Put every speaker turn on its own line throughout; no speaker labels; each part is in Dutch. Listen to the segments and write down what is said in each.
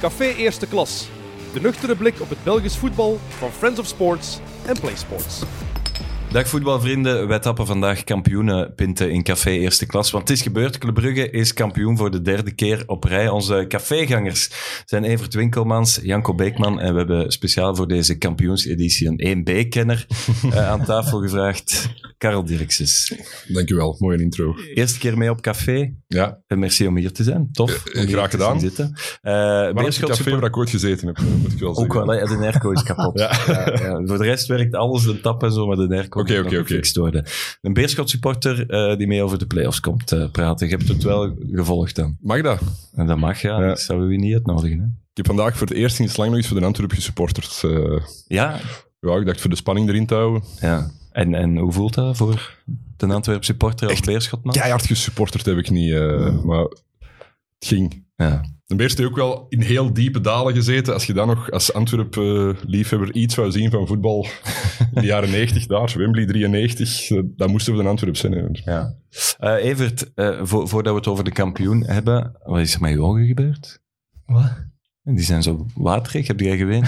Café Eerste Klas. De nuchtere blik op het Belgisch voetbal van Friends of Sports en Play Sports.
Dag voetbalvrienden, wij tappen vandaag kampioenen pinten in café eerste klas. Want het is gebeurd, Club Brugge is kampioen voor de derde keer op rij. Onze cafégangers zijn Evert Winkelmans, Janko Beekman en we hebben speciaal voor deze kampioenseditie een 1B-kenner eh, aan tafel gevraagd. Karel Dirkses.
Dankjewel, mooie intro.
Eerste keer mee op café.
Ja,
En Merci om hier te zijn. Tof.
Eh, eh,
om hier
graag
te
gedaan.
zien Zitten. Eh
maar het
Beerschot
café
support-
waar ik ooit gezeten heb, moet ik wel
ook
zeggen.
wel, hè. de airco is kapot.
Ja.
Ja, ja. Voor de rest werkt alles, de tap en zo, maar de airco
Oké,
moet
oké,
nog
oké.
gefixt worden. Een Beerschot supporter eh, die mee over de playoffs komt eh, praten. Je hebt het wel gevolgd dan.
Mag dat?
En dat mag, ja.
Ja.
Dat zouden we je niet uitnodigen. Hè?
Ik heb vandaag voor het eerst sinds lang nog eens voor de Antwerp gesupporterd. eh.
Ja,
ja, ik dacht voor de spanning erin te houden.
ja. En, en hoe voelt dat voor de Antwerp supporter als Beerschotman?
Keihard gesupporterd heb ik niet, eh, maar het ging.
Ja.
De beest heeft ook wel in heel diepe dalen gezeten. Als je dan nog als Antwerp-liefhebber iets zou zien van voetbal in de jaren 90 daar, Wembley 93, eh, dan moesten we de Antwerp zijn. hè.
Ja. Eh, Evert, eh, vo- voordat we het over de kampioen hebben, wat is er met je ogen gebeurd?
Wat?
Die zijn zo waterig, heb jij gewend?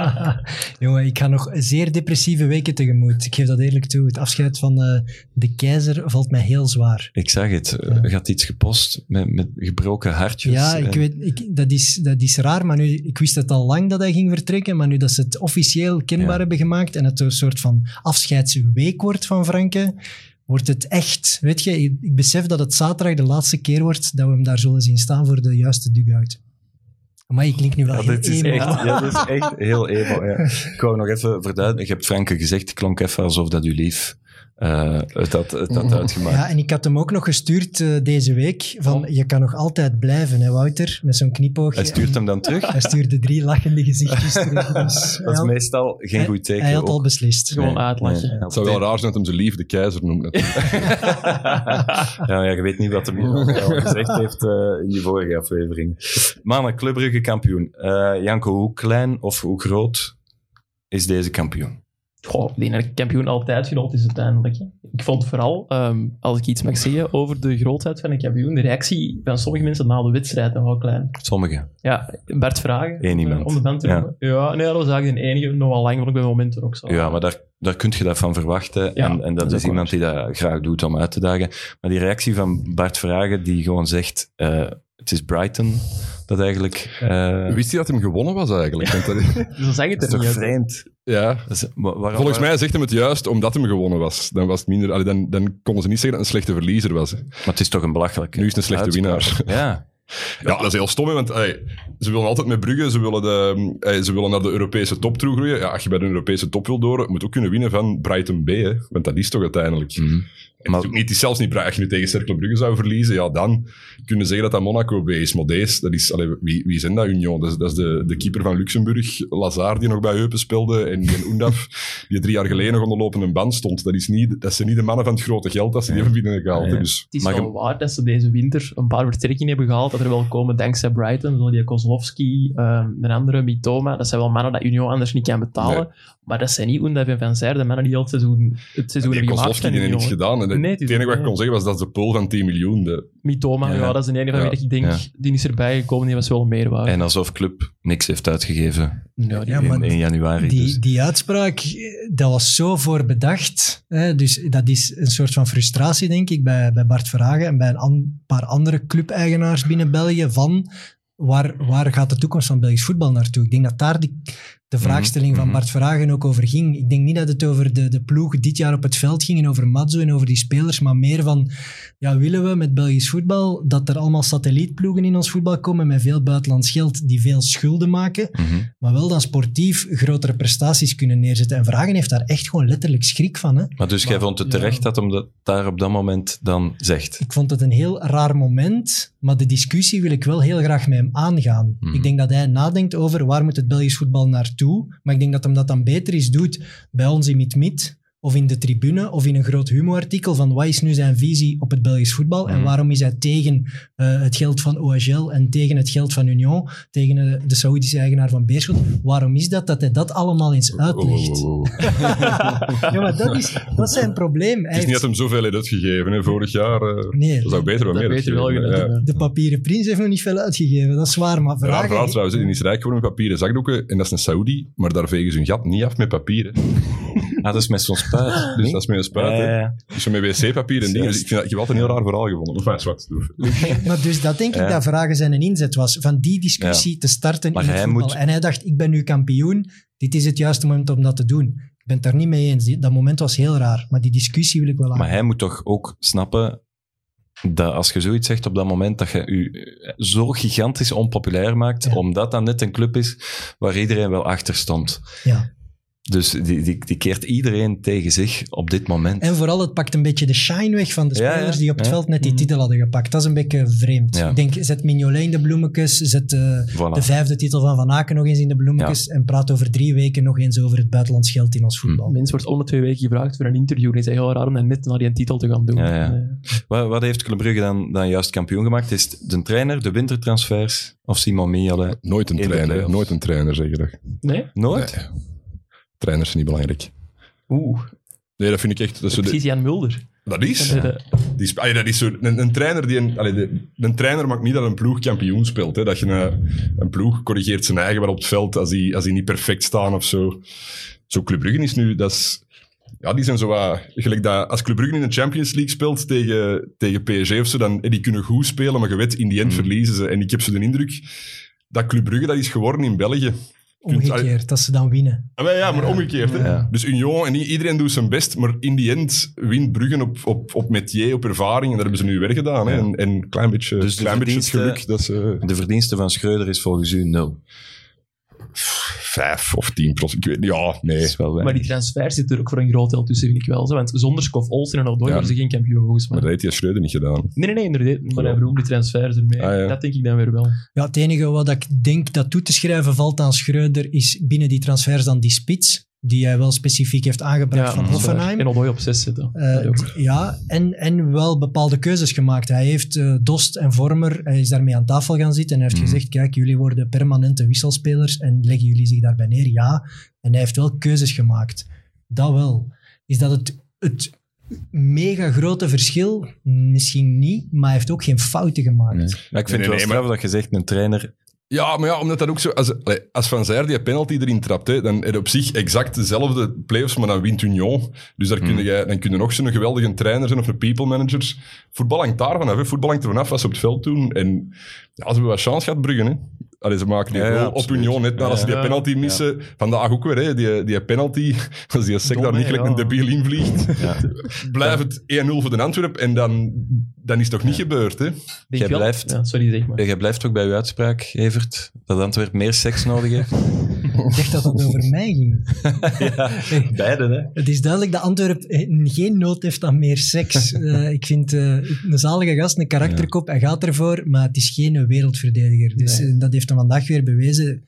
Jongen, ik ga nog zeer depressieve weken tegemoet. Ik geef dat eerlijk toe. Het afscheid van eh, de keizer valt mij heel zwaar.
Ik zag het. Eh,
Ja.
Je had iets gepost met, met gebroken hartjes.
Ja, ik
En-
weet, ik, dat, is, dat is raar, maar nu, ik wist het al lang dat hij ging vertrekken, maar nu dat ze het officieel kenbaar
Ja.
hebben gemaakt en het een soort van afscheidsweek wordt van Franke, wordt het echt. Weet je, ik, ik besef dat het zaterdag de laatste keer wordt dat we hem daar zullen zien staan voor de juiste dugout. Maar ik klink nu wel
Ja,
heel
dit is
emo.
echt, ja, dit is echt heel emo. Ja. Ik wou nog even verduidelijken. Je hebt Franke gezegd, het klonk even alsof dat u lief eh, het had, het had uitgemaakt.
Ja, en ik had hem ook nog gestuurd eh, deze week. Van, Je kan nog altijd blijven, hè, Wouter? Met zo'n knipoogje.
Oh. Hij stuurt hem dan terug.
Hij stuurde drie lachende gezichtjes terug. Dus hij
Dat is
had-
meestal geen
hij-
goed teken.
Hij had
ook.
al beslist.
Nee,
Gewoon uitlachen.
nee, hij
Het
had-
zou wel raar zijn dat hem zijn lief de keizer noemt. natuurlijk.
ja, ja, je weet niet wat hem hier al gezegd heeft eh, in die vorige aflevering. Mannen, Club Brugge kampioen. Eh, Janko, hoe klein of hoe groot is deze kampioen?
Goh, ik denk dat ik kampioen altijd groot is uiteindelijk. hè. Ik vond vooral, ehm, als ik iets mag zeggen over de grootheid van een kampioen, de reactie van sommige mensen na de wedstrijd nogal klein.
Sommigen.
Ja, Bart Vragen.
Eén
eh,
iemand.
Om de band te
Ja.
noemen. Ja, nee, dat was eigenlijk de enige. Nogal lang vond ik bij momenten ook zo.
Ja, maar daar, daar kun je dat van verwachten.
Ja,
en, en dat,
dat
is
is ook
iemand die dat graag doet om uit te dagen. Maar die reactie van Bart Vragen, die gewoon zegt: eh, Het is Brighton dat eigenlijk. eh
Wist hij dat hem gewonnen was eigenlijk? Want dat-
Dus dan zeg je het
dat is toch
er niet uit.
vreemd?
ja,
Dat is- wa- waarom-
Volgens mij zegt hem het juist omdat hem gewonnen was. Dan, was het minder, allee, dan, dan konden ze niet zeggen dat het een slechte verliezer was.
Maar het is toch een belachelijke.
Nu is het een slechte
uitspraak.
winnaar.
Ja,
Ja, dat is heel stom, hè, want allee, ze willen altijd met Brugge, ze willen, de, eh, ze willen naar de Europese top toegroeien. Ja, als je bij de Europese top wil door, moet je ook kunnen winnen van Brighton B, hè, want dat is toch uiteindelijk.
Mhm.
Het is ook niet, het is zelfs niet Brighton. Als je nu tegen Cercle Brugge zou verliezen, ja, dan kunnen ze zeggen dat dat Monaco B is. Maar deze, dat is, allee, wie, wie zijn dat, Union? Dat is, dat is de, de keeper van Luxemburg, Lazar, die nog bij Eupen speelde, en, en Oendaf, die drie jaar geleden nog onder lopende band stond. Dat, is niet, dat zijn niet de mannen van het grote geld dat ze die hebben binnengehaald. hè.
Nee.
Dus
Het is
Maar
wel waar dat ze deze winter een paar vertrekkingen hebben gehaald. Dat er wel komen dankzij Brighton. Zo die Kozlowski, ehm de andere, Mitoma. Dat zijn wel mannen dat Union anders niet kan betalen. Maar dat zijn niet Oendaf en Van Zijr, de mannen die al het seizoen, het seizoen
die
hebben gemaakt.
Kozlowski
van
die heeft niks
Union.
gedaan. En het,
Nee, het is
het enige wat ik
ook-
kon zeggen was dat is de pool van 10 miljoen. De,
Mitoma,
Ja,
ja,
ja.
dat is een enige van
Ja,
wie dat ik denk,
ja.
die is erbij gekomen, die was wel meer waard.
en alsof Club niks heeft uitgegeven
ja, die-
Ja,
in,
maar
in januari. dus.
Die, die uitspraak, eh, dat was zo voorbedacht. Hè? Dus dat is een soort van frustratie, denk ik, bij, bij Bart Verhagen en bij een an- paar andere clubeigenaars binnen België van waar, waar gaat de toekomst van Belgisch voetbal naartoe? Ik denk dat daar die, de vraagstelling
mhm.
van Bart Verhagen ook over ging. Ik denk niet dat het over de, de ploeg dit jaar op het veld ging en over Matzo en over die spelers, maar meer van, ja, willen we met Belgisch voetbal dat er allemaal satellietploegen in ons voetbal komen met veel buitenlands geld die veel schulden maken?
Mhm.
maar wel dan sportief grotere prestaties kunnen neerzetten. En Vragen heeft daar echt gewoon letterlijk schrik van. Hè?
Maar dus jij
Maar-
vond het
ja.
terecht dat hem dat daar op dat moment dan zegt?
Ik vond het een heel raar moment, maar de discussie wil ik wel heel graag met hem aangaan.
Mhm.
Ik denk dat hij nadenkt over waar moet het Belgisch voetbal naartoe, maar ik denk dat hem dat dan beter is doet bij ons in Mid-Mid, of in de tribune of in een groot humorartikel van wat is nu zijn visie op het Belgisch voetbal en
Mhm.
waarom is hij tegen eh, het geld van OHL en tegen het geld van Union, tegen eh, de Saoedische eigenaar van Beerschot. Waarom is dat dat hij dat allemaal eens uitlegt?
Oh, oh, oh, oh.
ja, maar dat is, dat is zijn probleem.
Het
Hij
is niet
heeft-
dat hem zoveel heeft uitgegeven hè, vorig jaar. eh.
Nee,
dat zou beter wat
Dat
meer
weet je wel.
uitgegeven
je
hebben, ja.
dat-
de papieren prins heeft nog niet veel uitgegeven, dat is waar, maar
Raar
vragen...
verhaal trouwens, hè. in Israël worden papieren zakdoeken en dat is een Saoedi, maar daar vegen ze hun gat niet af met papier. hè.
Ah, dat is met zo'n spuit.
Dus
niet?
dat is met een spuit. hè.
Eh,
Dus zo met wc-papier en dingen. Dus ik, vind dat, ik heb altijd een heel raar verhaal gevonden. Maar enfin, zwart. doe.
Maar dus dat denk ik
Ja.
dat vragen zijn een inzet was. Van die discussie te starten
Maar
in het
hij
voetbal.
moet-
En hij dacht, ik ben nu kampioen. Dit is het juiste moment om dat te doen. Ik ben het daar niet mee eens. Die- Dat moment was heel raar. Maar die discussie wil ik wel aan.
Maar hij moet toch ook snappen dat als je zoiets zegt op dat moment, dat je je zo gigantisch onpopulair maakt,
Ja.
omdat dat net een club is waar iedereen wel achter stond.
Ja.
Dus die, die, die keert iedereen tegen zich op dit moment.
En vooral, het pakt een beetje de shine weg van de
Ja, ja,
spelers die op het
ja.
veld net die
Mhm.
titel hadden gepakt. Dat is een beetje vreemd.
Ja.
Ik denk, zet Mignolet in de bloemetjes, zet eh,
Voilà.
de vijfde titel van Van Aken nog eens in de bloemetjes en praat over drie weken nog eens over het buitenlands geld in ons voetbal.
Mens wordt om de twee weken gevraagd voor een interview. En is heel raar om dan net naar die titel te gaan doen.
Ja, ja.
Eh,
Wat, wat heeft Club Brugge dan, dan juist kampioen gemaakt? Is het de trainer, de wintertransfers of Simon Mignolet?
Nooit een
In de
trainer. hè.
playoffs.
Nooit een trainer, zeg je dat.
Nee?
Nooit?
Nee. Trainers zijn niet belangrijk.
Oeh,
Nee, dat vind ik echt... Dat is, zo de-
precies Jan Mulder.
dat is,
Dat, eh,
die is- allee, dat is zo, een, een trainer die een, allee, de- een trainer maakt niet dat een ploeg kampioen speelt. Hè. Dat je een, een ploeg corrigeert zijn eigen wel op het veld als die, als die niet perfect staan of zo. Zo Club Brugge is nu... Dat is, ja, die zijn zo wat... Gelijk dat, als Club Brugge in de Champions League speelt tegen, tegen PSG of zo, dan, eh, die kunnen goed spelen, maar je weet, in die end verliezen ze. En ik heb zo de indruk dat Club Brugge dat is geworden in België.
Omgekeerd, dat ze dan winnen.
Ah, maar ja, maar omgekeerd. Hè.
Ja.
Dus Union en i- iedereen doet zijn best, maar in die end wint Bruggen op, op, op metier, op ervaring. En daar hebben ze nu werk gedaan. Hè.
Ja.
En en een klein beetje,
Dus de
klein beetje het
verdiensten-
geluk dat ze
De verdienste van Schreuder is volgens u nul.
vijf of tien procent, ik weet niet. Ja,
Dat
nee.
is wel
Maar die
weinig.
transfer zit er ook voor een groot deel tussen, vind ik wel. Zo. Want zonder Skof Olsen en Aldooi
Ja.
waren ze geen kampioen, volgens mij.
Maar dat heeft die Schreuder niet gedaan.
Nee, nee, nee, inderdaad. Maar hij vroeg die transfers ermee.
Ah, ja.
Dat denk ik dan weer wel.
Ja, het enige wat ik denk dat toe te schrijven valt aan Schreuder is binnen die transfers dan die spits, die hij wel specifiek heeft aangebracht van
dat is waar.
Hoffenheim.
En Aldooi op zes zetten.
Eh,
Dat ook.
ja, en, en wel bepaalde keuzes gemaakt. Hij heeft eh, Dost en Vormer, hij is daarmee aan tafel gaan zitten en hij heeft
Mhm.
gezegd, kijk, jullie worden permanente wisselspelers en leggen jullie zich daarbij neer? Ja. En hij heeft wel keuzes gemaakt. Dat wel. Is dat het, het mega grote verschil? Misschien niet, maar hij heeft ook geen fouten gemaakt.
Nee. Maar ik vind
Nee, nee,
het wel
nee,
straf dat je zegt een trainer...
Ja, maar ja, omdat dat ook zo... Als, allee, als Van Zijr die penalty erin trapt, hè, dan heb je op zich exact dezelfde playoffs, maar dan wint Union. Dus daar kun je, dan kun je nog zo'n geweldige trainer zijn of een people manager. Voetbal hangt daarvan af. Hè. Voetbal hangt ervan af wat ze op het veld doen. En ja, ze hebben wat chance gehad, Bruggen. Hè. Allee, ze maken die
Ja, ja,
goal op
absoluut.
Union, net nadat ze die
Ja.
penalty missen. Vandaag ook weer, hè. Die, die penalty. Als die sec daar niet gelijk een debiel in vliegt, blijft het 1-0 voor de Antwerp. En dan, dan is het toch niet gebeurd, hè.
Denk
Jij
wel-
blijft-
Ja, sorry, zeg maar.
Jij blijft ook bij uw uitspraak, Evert, dat Antwerp meer seks nodig heeft.
Ik dacht dat het over mij ging.
Beiden, hè?
Het is duidelijk dat Antwerp eh, geen nood heeft aan meer seks. Eh, ik vind eh, een zalige gast, een karakterkop, hij gaat ervoor, maar het is geen wereldverdediger. Dus eh, dat heeft hem vandaag weer bewezen.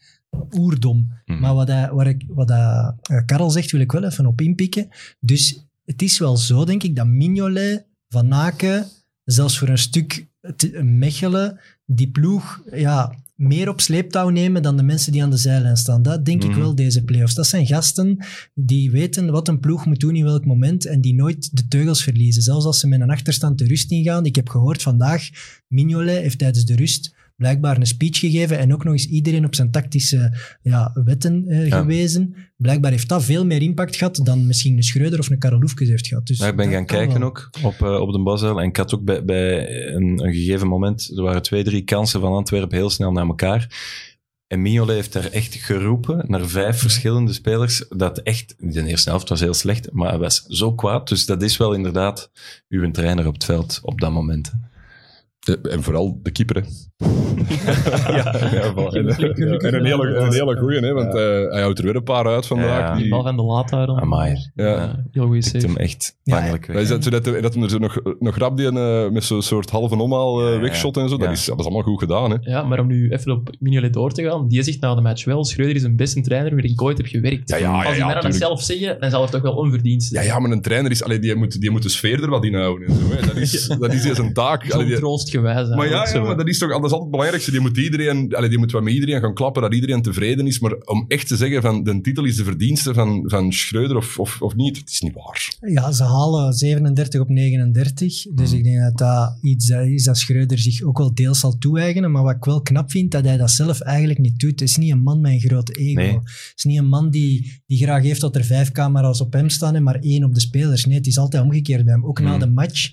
Oerdom.
Mhm.
Maar wat, hij, waar ik, wat hij, eh, Karel zegt, wil ik wel even op inpikken. Dus het is wel zo, denk ik, dat Mignolet, Van Aken, zelfs voor een stuk te- Mechelen, die ploeg ja, meer op sleeptouw nemen dan de mensen die aan de zijlijn staan. Dat denk
Mhm.
ik wel, deze playoffs. Dat zijn gasten die weten wat een ploeg moet doen in welk moment en die nooit de teugels verliezen. Zelfs als ze met een achterstand de rust ingaan. Ik heb gehoord vandaag, Mignolet heeft tijdens de rust blijkbaar een speech gegeven en ook nog eens iedereen op zijn tactische ja, wetten eh,
Ja.
gewezen. Blijkbaar heeft dat veel meer impact gehad dan misschien een Schreuder of een Karel Hoefkes heeft gehad. Dus
Maar ik ben
dat
gaan
kan
kijken
wel.
ook op, eh, op de Basel. En ik had ook bij, bij een, een gegeven moment, er waren twee, drie kansen van Antwerpen heel snel naar elkaar. En Mignolet heeft daar echt geroepen naar vijf verschillende spelers. Dat echt, de eerste helft was heel slecht, maar hij was zo kwaad. Dus dat is wel inderdaad uw trainer op het veld op dat moment. hè.
Eh, En vooral de keeper, hè. ja, voilà. en,
gelukkig.
en een hele, een hele goeie, hè, want eh, hij houdt er weer een paar uit vandaag.
Ja.
die-
Die bal van de laathaar dan.
Amai.
Ja.
Eh, heel goede
Pikt hem
save.
echt
Ja,
pijnlijk
Maar
weg.
is dat, zo dat, eh, dat hem er zo nog, nog rap die eh, met zo'n soort halve omhaal eh,
Ja, ja.
wegshot en zo,
Ja.
dat, is, dat is allemaal goed gedaan. Hè.
Ja, maar om nu even op Mignolet door te gaan, die zegt na de match wel, Schreuder is een beste trainer waar ik ooit heb gewerkt.
Ja, ja, ja,
Als die
ja,
mannen dat
tuurlijk.
zelf zeggen, dan zal er toch wel onverdiend
Ja,
zijn.
ja, maar een trainer is, allee, die, moet, die moet de sfeer er wat in houden. En zo, hè. Dat, is, dat is zijn taak. Allee,
Zo'n
die-
troostgewijs.
maar
eigenlijk,
ja, ja,
zo.
maar dat is toch dat is altijd het belangrijkste. Die moet, iedereen, allee, die moet wat met iedereen gaan klappen, dat iedereen tevreden is. Maar om echt te zeggen van de titel is de verdienste van, van Schreuder of, of, of niet, het is niet waar.
Ja, ze halen 37 op 39. Dus ik denk dat dat iets dat is dat Schreuder zich ook wel deels zal toe-eigenen. Maar wat ik wel knap vind, dat hij dat zelf eigenlijk niet doet. Het is niet een man met een groot ego.
Nee.
Het is niet een man die, die graag heeft dat er vijf camera's op hem staan en maar één op de spelers. Nee, het is altijd omgekeerd bij hem. Ook na
Mm.
de match.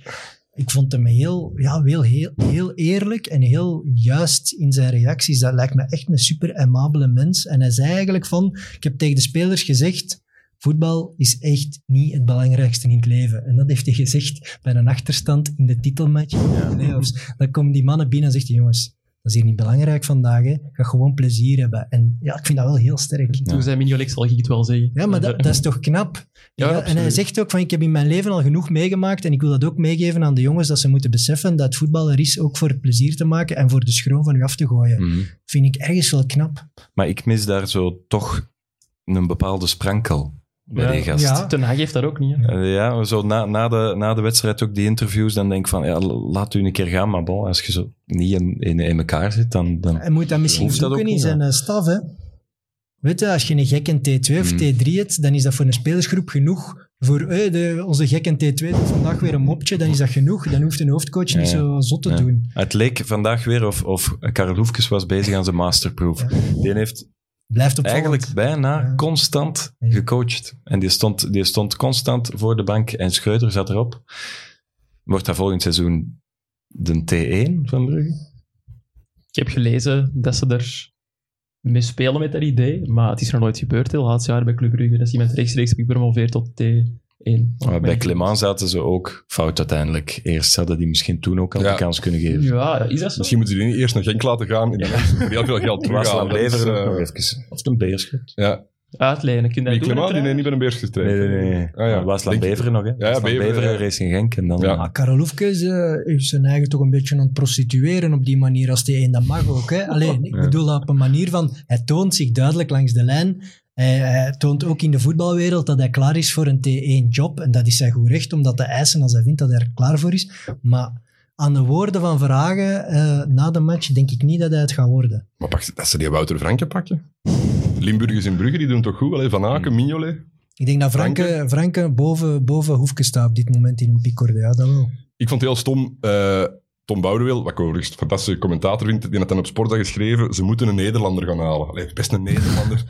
Ik vond hem heel, ja, heel, heel, heel eerlijk en heel juist in zijn reacties. Dat lijkt me echt een super aimabele mens. En hij zei eigenlijk van, ik heb tegen de spelers gezegd, voetbal is echt niet het belangrijkste in het leven. En dat heeft hij gezegd bij een achterstand in de titelmatch in de playoffs. Dan komen die mannen binnen en zegt hij, jongens, dat is hier niet belangrijk vandaag. Hè. Ga gewoon plezier hebben. En ja, ik vind dat wel heel sterk.
Toen zei Mignolet, zal ik het wel zeggen.
Ja, maar dat, dat is toch knap?
Ja,
Ja, en hij
absoluut.
zegt ook van, ik heb in mijn leven al genoeg meegemaakt en ik wil dat ook meegeven aan de jongens, dat ze moeten beseffen dat voetbal er is ook voor plezier te maken en voor de schroom van u af te gooien.
Mhm.
Vind ik ergens wel knap.
Maar ik mis daar zo toch een bepaalde sprankel bij
Ja.
die gast.
Ja.
Ten Hag heeft dat ook niet. hè.
Eh, ja, zo na, na, de, na de wedstrijd ook die interviews, dan denk ik van, ja, laat u een keer gaan, maar bon, als je zo niet in, in, in elkaar zit, dan... dan
Hij moet dat misschien
Hoeft dat
zoeken
ook
in
niet,
zijn
ja.
eh, staf, hè. Weet je, als je een gek in T2 of
Mm.
T3 hebt, dan is dat voor een spelersgroep genoeg. Voor eh, de, onze gek in T2 doet vandaag weer een mopje, dan is dat genoeg. Dan hoeft een hoofdcoach
Ja,
niet
ja.
zo zot te
Ja.
doen.
het leek vandaag weer of, of Karel Hoefkes was bezig aan zijn masterproef. Die heeft
Blijft opvallend.
eigenlijk bijna
Ja.
constant
Ja.
gecoacht. En die stond, die stond constant voor de bank en Schreuder zat erop. Wordt dat volgend seizoen de T1 van Brugge?
Ik heb gelezen dat ze er mee spelen met dat idee, maar het is nog nooit gebeurd. Heel laatste jaar bij Club Brugge, dat iemand rechtstreeks promoveert tot Oh, T1.
Ah,
Maar bij Clement zaten ze ook fout uiteindelijk. Eerst hadden die misschien toen ook al
Ja.
de kans kunnen geven.
Ja, is dat zo?
Misschien moeten ze die eerst naar Genk laten gaan en dan heel veel geld terughalen.
Waasland
Dat is,
leveren
eh,
nog even. Of een beerschot.
ja.
Uitlijnen, kun je
Die
dat doen?
Clement, die
uiteraard?
heeft niet bij een beers
Nee,
getraind.
nee, nee.
Ah, ja.
Waasland
Denk-
Beveren nog, hè? Waasland
Beveren,
Beveren,
ja.
Racing Genk en dan...
Ja.
Ah,
Karel Hoefkes eh, heeft zijn eigen toch een beetje aan het prostitueren op die manier als die een dat mag ook. Hè? Alleen, ik
Ja.
bedoel op een manier van, hij toont zich duidelijk langs de lijn. Hij, hij toont ook in de voetbalwereld dat hij klaar is voor een T1-job. En dat is zijn goed recht om dat te eisen als hij vindt dat hij er klaar voor is. Maar aan de woorden van Vragen eh, na de match denk ik niet dat hij het gaat worden.
Maar pak, dat ze die Wouter Franke pakken. Limburgers in Brugge, die doen toch goed? Allee, Van Aken,
Mm.
Mignolet.
Ik denk dat Franke, Franke boven, boven Hoefkes staat op dit moment in een piekorde. Ja, dat wel.
Ik vond het heel stom. eh, Tom Boudewil, wat ik overigens een fantastische commentator vind, die had dan op Sportdag geschreven, ze moeten een Nederlander gaan halen. Allee, best een Nederlander.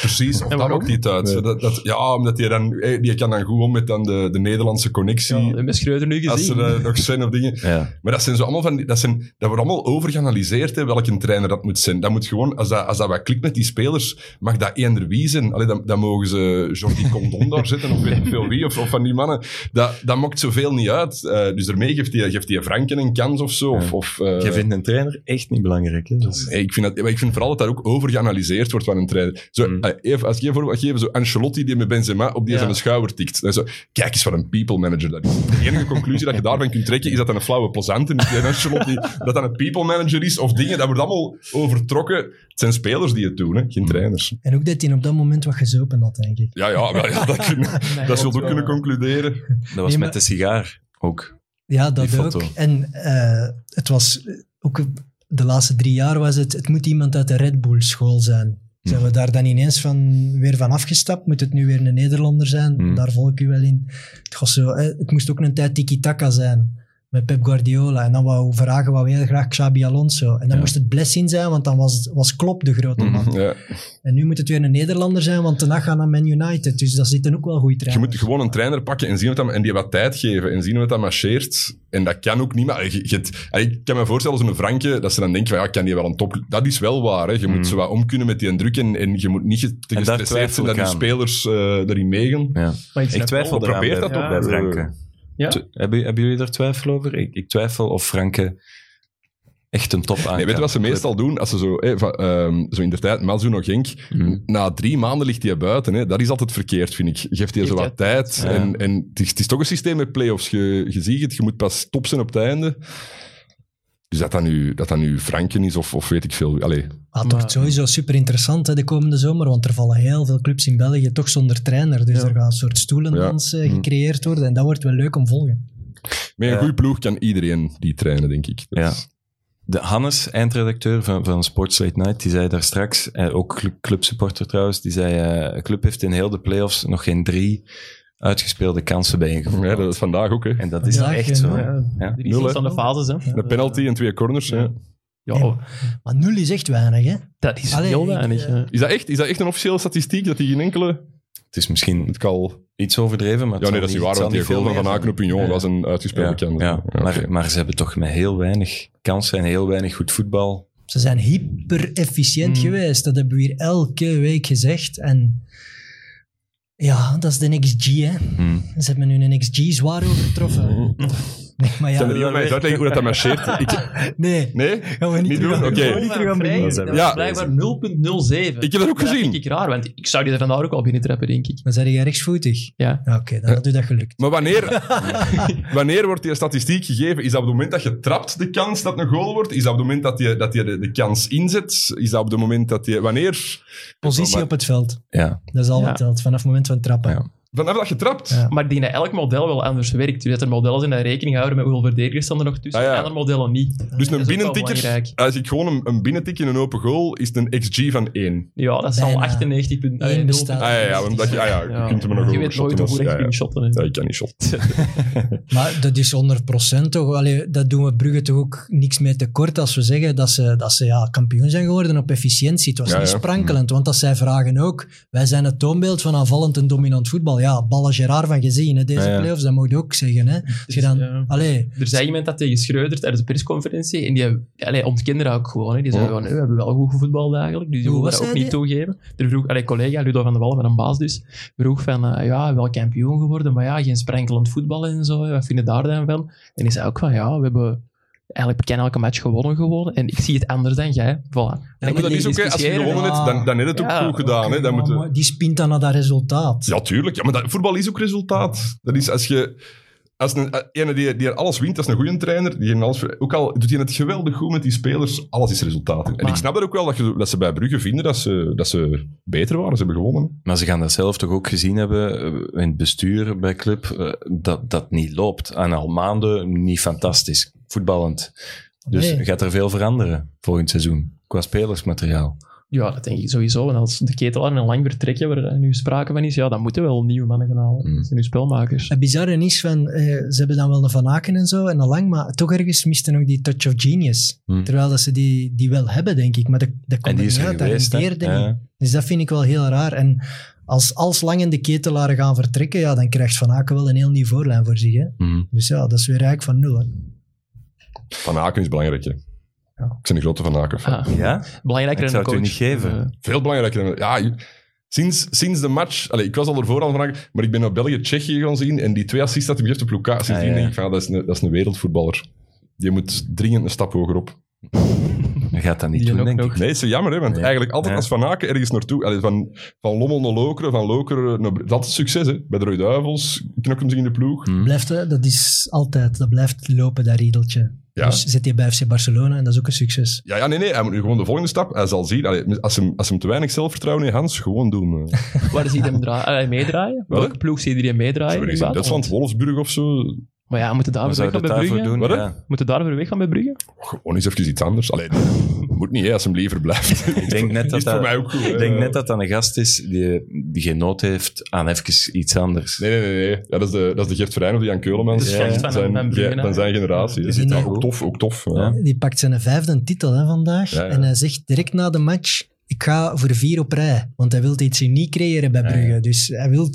Precies, of dat
waarom?
maakt niet uit. Dat, dat, ja, omdat die, dan, eh, die kan dan goed om met dan de, de Nederlandse
Ja,
connectie.
we hebben Schreuder nu
als
gezien.
er eh, nog zijn of dingen.
Ja.
Maar dat zijn zo allemaal van die, dat, zijn, dat wordt allemaal overgeanalyseerd, hè, welke trainer dat moet zijn. Dat moet gewoon, als dat, als dat wat klikt met die spelers, mag dat eender wie zijn. Allee, dan, dan mogen ze Jordi Condon daar zetten, of weet ik veel wie, of, of van die mannen. Dat, dat maakt zoveel niet uit. Eh, dus daarmee geeft die, geeft die Franken een kans of zo. Of,
Ja.
of, eh,
Je vindt een trainer echt niet belangrijk, hè? Dat is-
Nee, ik, vind dat, maar ik vind vooral dat daar ook over geanalyseerd wordt van een trainer. Zo,
Mm.
eh, even, als ik een voorbeeld geef, zo Ancelotti die met Benzema op die
Ja.
zijn schouder tikt. Dan zo, kijk eens wat een people manager dat is. De enige conclusie dat je daarvan kunt trekken is dat dat een flauwe plezante is. Die Ancelotti, dat dat een people manager is of dingen. Dat wordt allemaal overtrokken. Het zijn spelers die het doen, hè, geen trainers.
En ook dat hij op dat moment wat gezopen had, denk ik.
Ja, ja, wel, ja dat, kun,
Nee,
dat zult
klopt
ook kunnen
wel.
concluderen.
Dat was
Nee,
met
maar-
de sigaar ook.
Ja, dat
Die
ook.
foto.
En eh, het was eh, ook de laatste drie jaar was het, het moet iemand uit de Red Bull school zijn. Zijn
Mhm.
we daar dan ineens van, weer van afgestapt? Moet het nu weer een Nederlander zijn?
Hmm.
Daar volg ik u wel in. Het, was zo, eh, het moest ook een tijd tiki-taka zijn. Met Pep Guardiola. En dan wou vragen wou heel graag Xabi Alonso. En dan
Ja. Mhm.
moest het Blessin zijn, want dan was, was Klopp de grote man.
Ja.
En nu moet het weer een Nederlander zijn, want daarna gaan naar Man United. Dus daar zitten ook wel goede
Je
trainers.
moet
dus-
gewoon een trainer pakken en, zien wat dat, en die wat tijd geven en zien wat dat marcheert. En dat kan ook niet. Maar je, je het- en ik kan me voorstellen, als een Frankje, dat ze dan denken: van, ja, kan die wel een top. Dat is wel waar. Hè. Je moet ze wat om kunnen met die druk en, en je moet niet ge- te
Mm. En daar
gestresseerd zijn dat
twijfel
je
ik
spelers eh erin meegaan.
Ja.
Maar
Ik
snap-
twijfel
oh,
eraan
probeer
bij,
dat
bij
toch.
Franke.
Ja.
Tw- Hebben, hebben jullie daar twijfel over? Ik, ik twijfel of Franke echt een top aan.
Nee, weet je wat ze meestal doen? Als ze zo, hè, van, ehm, zo in de tijd, Mazoen nog Genk,
Hm.
na drie maanden ligt hij buiten. Hè. Dat is altijd verkeerd, vind ik. Geeft hij zo
Geeft
wat tijd.
Ja.
En, en het, is, het is toch een systeem met play-offs. Je, je ziet het, je moet pas top zijn op het einde. Dus dat dat nu, dat dat nu Franken is, of, of weet ik veel. Allee,
Maar het wordt
eh,
sowieso super interessant hè, de komende zomer, want er vallen heel veel clubs in België toch zonder trainer. Dus
Ja.
er gaan een soort stoelendans eh,
Ja. Mm.
gecreëerd worden en dat wordt wel leuk om volgen.
met een
Ja.
goede ploeg kan iedereen die trainen, denk ik. Dat
Ja.
is-
De Hannes, eindredacteur van, van Sports Late Night, die zei daar straks, eh, ook cl- clubsupporter trouwens, die zei, eh, een club heeft in heel de playoffs nog geen drie uitgespeelde kansen bijeengevoerd.
Ja, dat is vandaag ook. Hè.
En dat is
Ja,
echt
geen-
zo. hè.
Ja,
Ja.
Drie
Nul, hè.
verschillende fases, hè.
Een penalty en twee corners. hè.
Ja,
Nee,
oh,
Maar nul is echt weinig, hè?
dat is
Allee,
heel
ik,
weinig.
eh,
hè.
Is, dat echt, is dat echt een officiële statistiek dat hij geen enkele...
Het is misschien
Het kan...
iets overdreven, maar het
Ja, nee,
zal
dat is niet waar,
het
want
zal
die goal van
veel
Van
meer
Aken op Union
Ja.
was een
Ja,
uitgespeelde kans.
ja,
Ja, oké.
maar, maar ze hebben toch met heel weinig kansen en heel weinig goed voetbal.
Ze zijn hyper-efficiënt
Mm.
geweest. Dat hebben we hier elke week gezegd. En ja, dat is de XG, hè?
Hmm.
Ze hebben nu een XG zwaar overtroffen. Nee, maar
Mm. Zijn er
ja,
iemand mij eens uitleggen hoe dat, dat marcheert? Ik,
nee.
nee?
Gaan we niet,
Niet
terug
doen?
aan-
Oké.
gaan we niet terug aan beginnen.
Dat
Dat
is
is
Ja.
blijkbaar 0.07.
Ik heb dat ook
Dat
gezien.
vind ik raar, want ik zou die er vandaag ook al binnentrappen, denk ik.
Maar zijn jij rechtsvoetig?
Ja.
Ja, Oké, dan had u dat gelukt.
Maar wanneer, wanneer wordt die statistiek gegeven? Is dat op het moment dat je trapt de kans dat het een goal wordt? Is dat op het moment dat je, dat je de, de kans inzet? Is dat op het moment dat je... Wanneer?
Positie
Maar-
op het veld.
Ja,
Dat is al
Ja.
wat telt, vanaf het moment van trappen.
Ja.
Vanaf dat je trapt?
Ja.
Maar ik denk dat elk model wel anders werkt. Dus dat er modellen zijn die rekening houden met hoeveel verdedigers staan er nog tussen.
Ah, ja.
En andere modellen niet.
Dus
Dat
een
is ook wel
binnentikker,
belangrijk.
als ik gewoon een, een binnentik in een open goal, is het een XG van 1.
Ja, dat zal
Bijna.
98 punten.
Eén
nee,
bestaat.
Ah ja, ja, omdat je, ah, ja,
Ja.
je kunt hem nog
Je
over
weet nooit
shotten
hoe
als-
goed je
ja, ja.
kunt shotten. hè.
Ja, ik kan niet shotten.
Maar dat is 100% toch? Allee, dat doen we Brugge toch ook niks mee tekort als we zeggen dat ze, dat ze ja, kampioen zijn geworden op efficiëntie. Het was
Ja,
niet
ja.
sprankelend, want dat zij vragen ook. Wij zijn het toonbeeld van aanvallend en dominant voetbal. Ja, ballen Gerard van gezien, hè, deze
Ja, ja.
playoffs, dat moet je ook zeggen. Hè. Als
Dus,
je dan,
ja.
allee,
Er zei iemand dat tegen Schreuder tijdens de persconferentie. En die allee, ontkende dat ook gewoon. Hè. Die zei
Oh.
gewoon, nee, we hebben wel goed gevoetbald eigenlijk. Dus die
Hoe
wilde
was
dat ook
hij
niet toegeven. Er vroeg, allee, collega Ludo van der Wallen, mijn baas dus, vroeg van, eh, ja, wel kampioen geworden, maar ja, geen sprankelend voetbal en zo. Wat vind je daar dan van? En die zei ook van, ja, we hebben... Eigenlijk bijna elke match gewonnen gewoon. En ik zie het anders dan jij. Voilà. En
maar
ik
Maar dat
niet
is ook, hè, als je
discussiëren.
gewonnen hebt, dan, dan heb je het ook
Ja,
goed gedaan. Hè, dan moet je-
maar die spint dan naar dat resultaat.
Ja, tuurlijk. Ja, maar dat, voetbal is ook resultaat. Dat is als je... Als een eh, ene die, die er alles wint, dat is een goede trainer. Die heeft alles, ook al doet hij het geweldig goed met die spelers, alles is resultaat. En
Maar-
ik snap dat ook wel, dat, je, dat ze bij Brugge vinden dat ze, dat ze beter waren. Ze hebben gewonnen.
maar ze gaan dat zelf toch ook gezien hebben eh, in het bestuur bij club, eh, dat dat niet loopt. En al maanden niet fantastisch, voetballend. Dus
Nee.
gaat er veel veranderen volgend seizoen, qua spelersmateriaal.
Ja, dat denk ik sowieso. En als de ketelaar een lang vertrekken, waar er nu sprake van is, ja, dan moeten we wel nieuwe mannen gaan halen.
Mm.
Dat zijn nu spelmakers.
Het bizarre is van, eh, ze hebben dan wel een Van Aken en zo en al lang, maar toch ergens misten nog die touch of genius.
Hmm.
Terwijl dat ze die, die wel hebben, denk ik. Maar dat, dat
En
komt
die is
niet
er
uit, dat
geweest. hè.
rendeerde niet.
Ja.
Dus dat vind ik wel heel raar. En als, als Lang en de ketelaren gaan vertrekken, ja, dan krijgt Van Aken wel een heel nieuw voorlijn voor zich. Hè?
Mhm.
Dus ja, dat is weer eigenlijk van nul. Hè?
Van Aken is belangrijk. Hè.
Ja.
Ik ben een grote Van Aken. fan.
Ah,
Ja?
belangrijker
Ik
dan
zou
een
het u
coach.
niet geven.
Eh,
Veel belangrijker dan... Ja, je- sinds, sinds de match... Allez, ik was al ervoor al Van Aken, maar ik ben naar België-Tsjechië gaan zien en die twee assists dat hij geeft op Lukaku, sindsdien
ja.
denk ik van, ja, dat, is een, dat is een wereldvoetballer. Je moet dringend een stap hoger op.
Je gaat dat niet
Die
doen,
ook
denk
nog.
ik.
Nee, het is zo jammer, hè, want
Nee.
eigenlijk altijd
Ja.
als Van Aken ergens naartoe... allee, van, van Lommel naar Lokeren, van Lokeren naar... Br- Dat is succes, hè. Bij de Rode Duivels knokken ze in de ploeg.
Mhm.
Blijft, hè, dat is altijd, dat blijft lopen, dat riedeltje.
Ja.
Dus zit hij bij FC Barcelona en dat is ook een succes.
Ja, ja, nee, nee. Hij moet nu gewoon de volgende stap. Hij zal zien... allee, als, hem, als hem te weinig zelfvertrouwen heeft, Hans, gewoon doen. eh.
Waar zie je hem draa- eh, meedraaien?
Wat?
Welke ploeg zie je die meedraaien?
Zo ergens
in
in
het
Duitsland,
buitenland?
Wolfsburg of zo.
Maar ja, moeten
Wat
daarvoor
zou
weg
je
gaan
het
bij
daarvoor
Brugge?
doen?
Wat, hè?
Ja.
Moeten daarvoor weg gaan bij Brugge?
Gewoon eens even iets anders. Allee, moet niet, hè. Als hem liever blijft.
Ik denk net dat
is voor
dat...
mij ook goed. hè.
Ik denk net dat dat een gast is die, die geen nood heeft aan even iets anders.
Nee, nee, nee. nee. Ja, dat, is de, dat is de Gert Verijn of de Jan Keulemans
Ja,
van,
ja.
zijn,
Van- van Brugge,
ge- van zijn generatie.
Die zit
Ja,
daar
ook
goed.
tof, ook tof. Ja.
Ja.
Die pakt zijn vijfde titel hè, vandaag.
Ja, ja.
En hij zegt direct na de match, ik ga voor vier op rij. Want hij wil iets uniek creëren bij
Ja, ja.
Brugge. Dus hij wil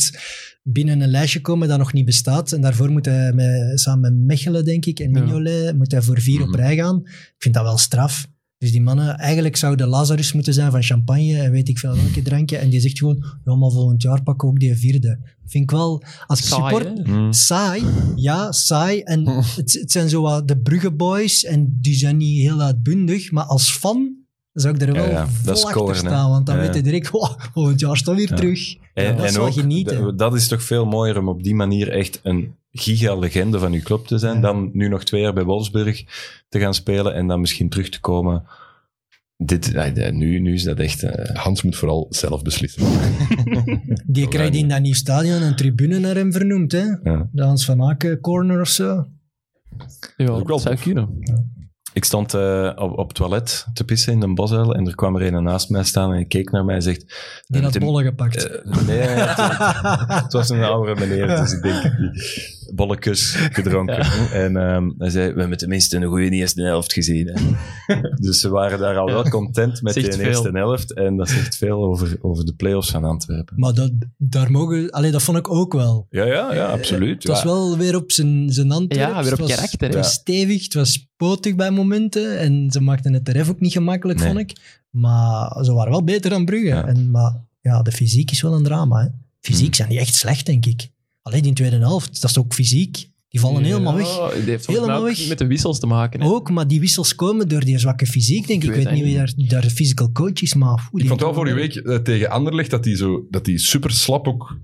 binnen een lijstje komen dat nog niet bestaat. En daarvoor moet hij met, samen met Mechelen, denk ik, en
Ja.
Mignolet, moet hij voor vier op
Mhm.
rij gaan. Ik vind dat wel straf. Dus die mannen, eigenlijk zou de Lazarus moeten zijn van champagne en weet ik veel welke drankje. En die zegt gewoon, ja, maar volgend jaar pakken we ook die vierde. Vind ik wel, als
Saai,
support...
hè?
Mm.
Saai, ja, saai.
Hm.
En het, het zijn zo wat de Brugge-boys en die zijn niet heel uitbundig. Maar als fan zou ik er wel
Ja, ja,
vol
dat is
achter
scoren, hè.
staan. Want dan
Ja,
weet je direct, wow, volgend jaar staan we weer
Ja.
terug. Ja,
En,
dat is
en
wel
ook,
genieten.
d- dat is toch veel mooier om op die manier echt een gigalegende van uw club te zijn,
Ja.
dan nu nog twee jaar bij Wolfsburg te gaan spelen en dan misschien terug te komen. Dit, eh, nu, nu is dat echt... eh,
Hans moet vooral zelf beslissen.
Die krijgt in dat nieuw stadion een tribune naar hem vernoemd, hè?
Ja.
De Hans van Aken corner of zo.
Ja,
ook wel
dat zou kunnen.
Ik stond eh, op, op het toilet te pissen in Den Bosuil en er kwam er een naast mij staan en hij keek naar mij en zegt...
Die
eh,
had
Tim-
bollen gepakt.
eh, nee, het, het was een oudere meneer, dus ik denk... Bolletjes gedronken. En ehm, hij zei, we hebben tenminste een goede eerste helft gezien. Hè. dus ze waren daar al wel content met
Zegt
die
veel.
eerste helft. En dat zegt veel over, over de play-offs van Antwerpen.
maar dat, daar mogen, allee, dat vond ik ook wel.
Ja, ja, ja, absoluut.
Eh, Het was
ja.
wel weer op zijn, zijn Antwerps.
Ja, weer
Het
op
was-
karakter, hè?
Het was stevig, het was potig bij momenten. En ze maakten het er even ook niet gemakkelijk,
Nee.
vond ik. Maar ze waren wel beter dan Brugge.
Ja.
En, maar ja, de fysiek is wel een drama. Hè. Fysiek zijn die echt slecht, denk ik. Alleen die tweede helft, dat is ook fysiek. Die vallen helemaal weg.
Ja, die heeft
Helemaal
helemaal
weg.
met de wissels te maken. hè.
Ook, maar die wissels komen door die zwakke fysiek, denk ik. Ik weet niet wie daar, daar de physical coach is, maar... oeh, die
Ik vond wel
doen
vorige
wel-
week eh, tegen Anderlecht dat die, zo, dat die super slap ook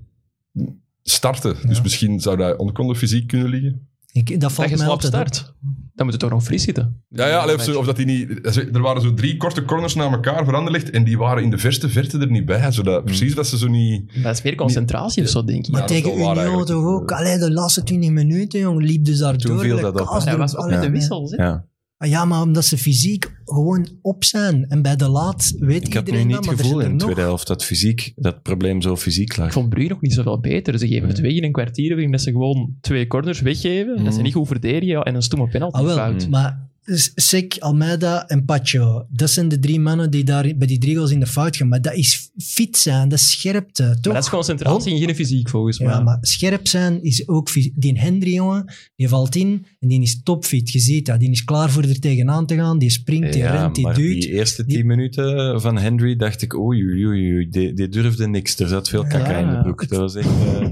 starten. Dus misschien zou dat onkonde fysiek kunnen liggen.
Ik, dat
Dat
valt
je
mij
slap
altijd op.
start. Dan moet het toch nog fris zitten.
Ja, ja, allee, of, zo- of dat die niet... dat ze- Er waren zo drie korte corners na elkaar voor Anderlecht en die waren in de verste verte er niet bij. Zodat, Precies dat ze zo niet...
Dat is meer concentratie of zo, denk ik.
Maar
Ja, dat is
tegen
wel waar
Union
eigenlijk.
toch ook. Allee, de laatste 20 minuten, jong, liep dus daar
Toen
door.
viel
de
dat op,
kaas
hè?
Hij
door-
was ook met de
Allee,
wissels. hè.
Ja.
Ah Ja, maar omdat ze fysiek gewoon op zijn. En bij de laat weet
Ik had nu
iedereen
niet
dat,
het
maar er
gevoel
zit
in
er
de
nog.
tweede helft dat, fysiek, dat probleem zo fysiek lag.
Ik vond Brugge nog niet zoveel beter. Ze geven het weg in een kwartier. Ik denk dat ze gewoon twee corners weggeven. Dat
Mm.
ze niet goed verdedigen ja, en een stomme penalty
Ah, wel,
fout.
maar S- Sek, Almeida en Pacho, dat zijn de drie mannen die daar bij die drie goals in de fout gaan. Maar dat is fit zijn, dat is scherpte, toch?
Maar dat is concentratie en geen fysiek, volgens mij.
Ja, maar scherp zijn is ook... fys- Die Hendry, jongen, die valt in en die is topfit. Je ziet dat. Die is klaar voor er tegenaan te gaan. Die springt, die
Ja,
rent, die
maar
duwt.
die eerste
Die-
tien minuten van Henry dacht ik, oei, oei, oei, oei, die, die durfde niks. Er zat veel kaka
Ja.
in de broek. Dat was echt, eh,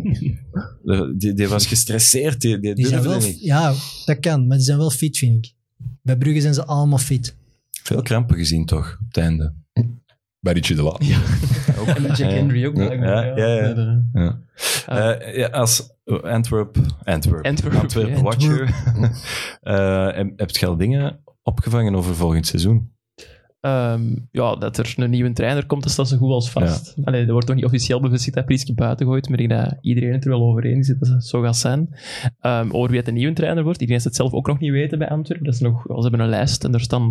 de- die, die was gestresseerd, die, die
Die zijn
durfde
wel,
niet.
ja, dat kan. Maar die zijn wel fit, vind ik. Bij Brugge zijn ze allemaal fit.
Veel krampen gezien toch, op het einde.
Bij Richie de Laat.
Ook
Jack Henry ook.
Ja,
blijkbaar,
ja, ja, ja.
Met, eh,
Ja. Eh, ja, als Antwerp, Antwerp,
Antwerp,
Antwerp
ja,
watcher, Eh, heb heb je al dingen opgevangen over volgend seizoen?
Ehm, ja, dat er een nieuwe trainer komt, dat staat zo goed als vast. Allee, er wordt nog niet officieel bevestigd dat Prieske buiten gooit, maar ik denk dat iedereen het er wel over eens is dat het zo gaat zijn. Ehm over wie het een nieuwe trainer wordt, ik denk dat ze het zelf ook nog niet weten bij Antwerpen. Dat is nog, ze hebben een lijst en daar staan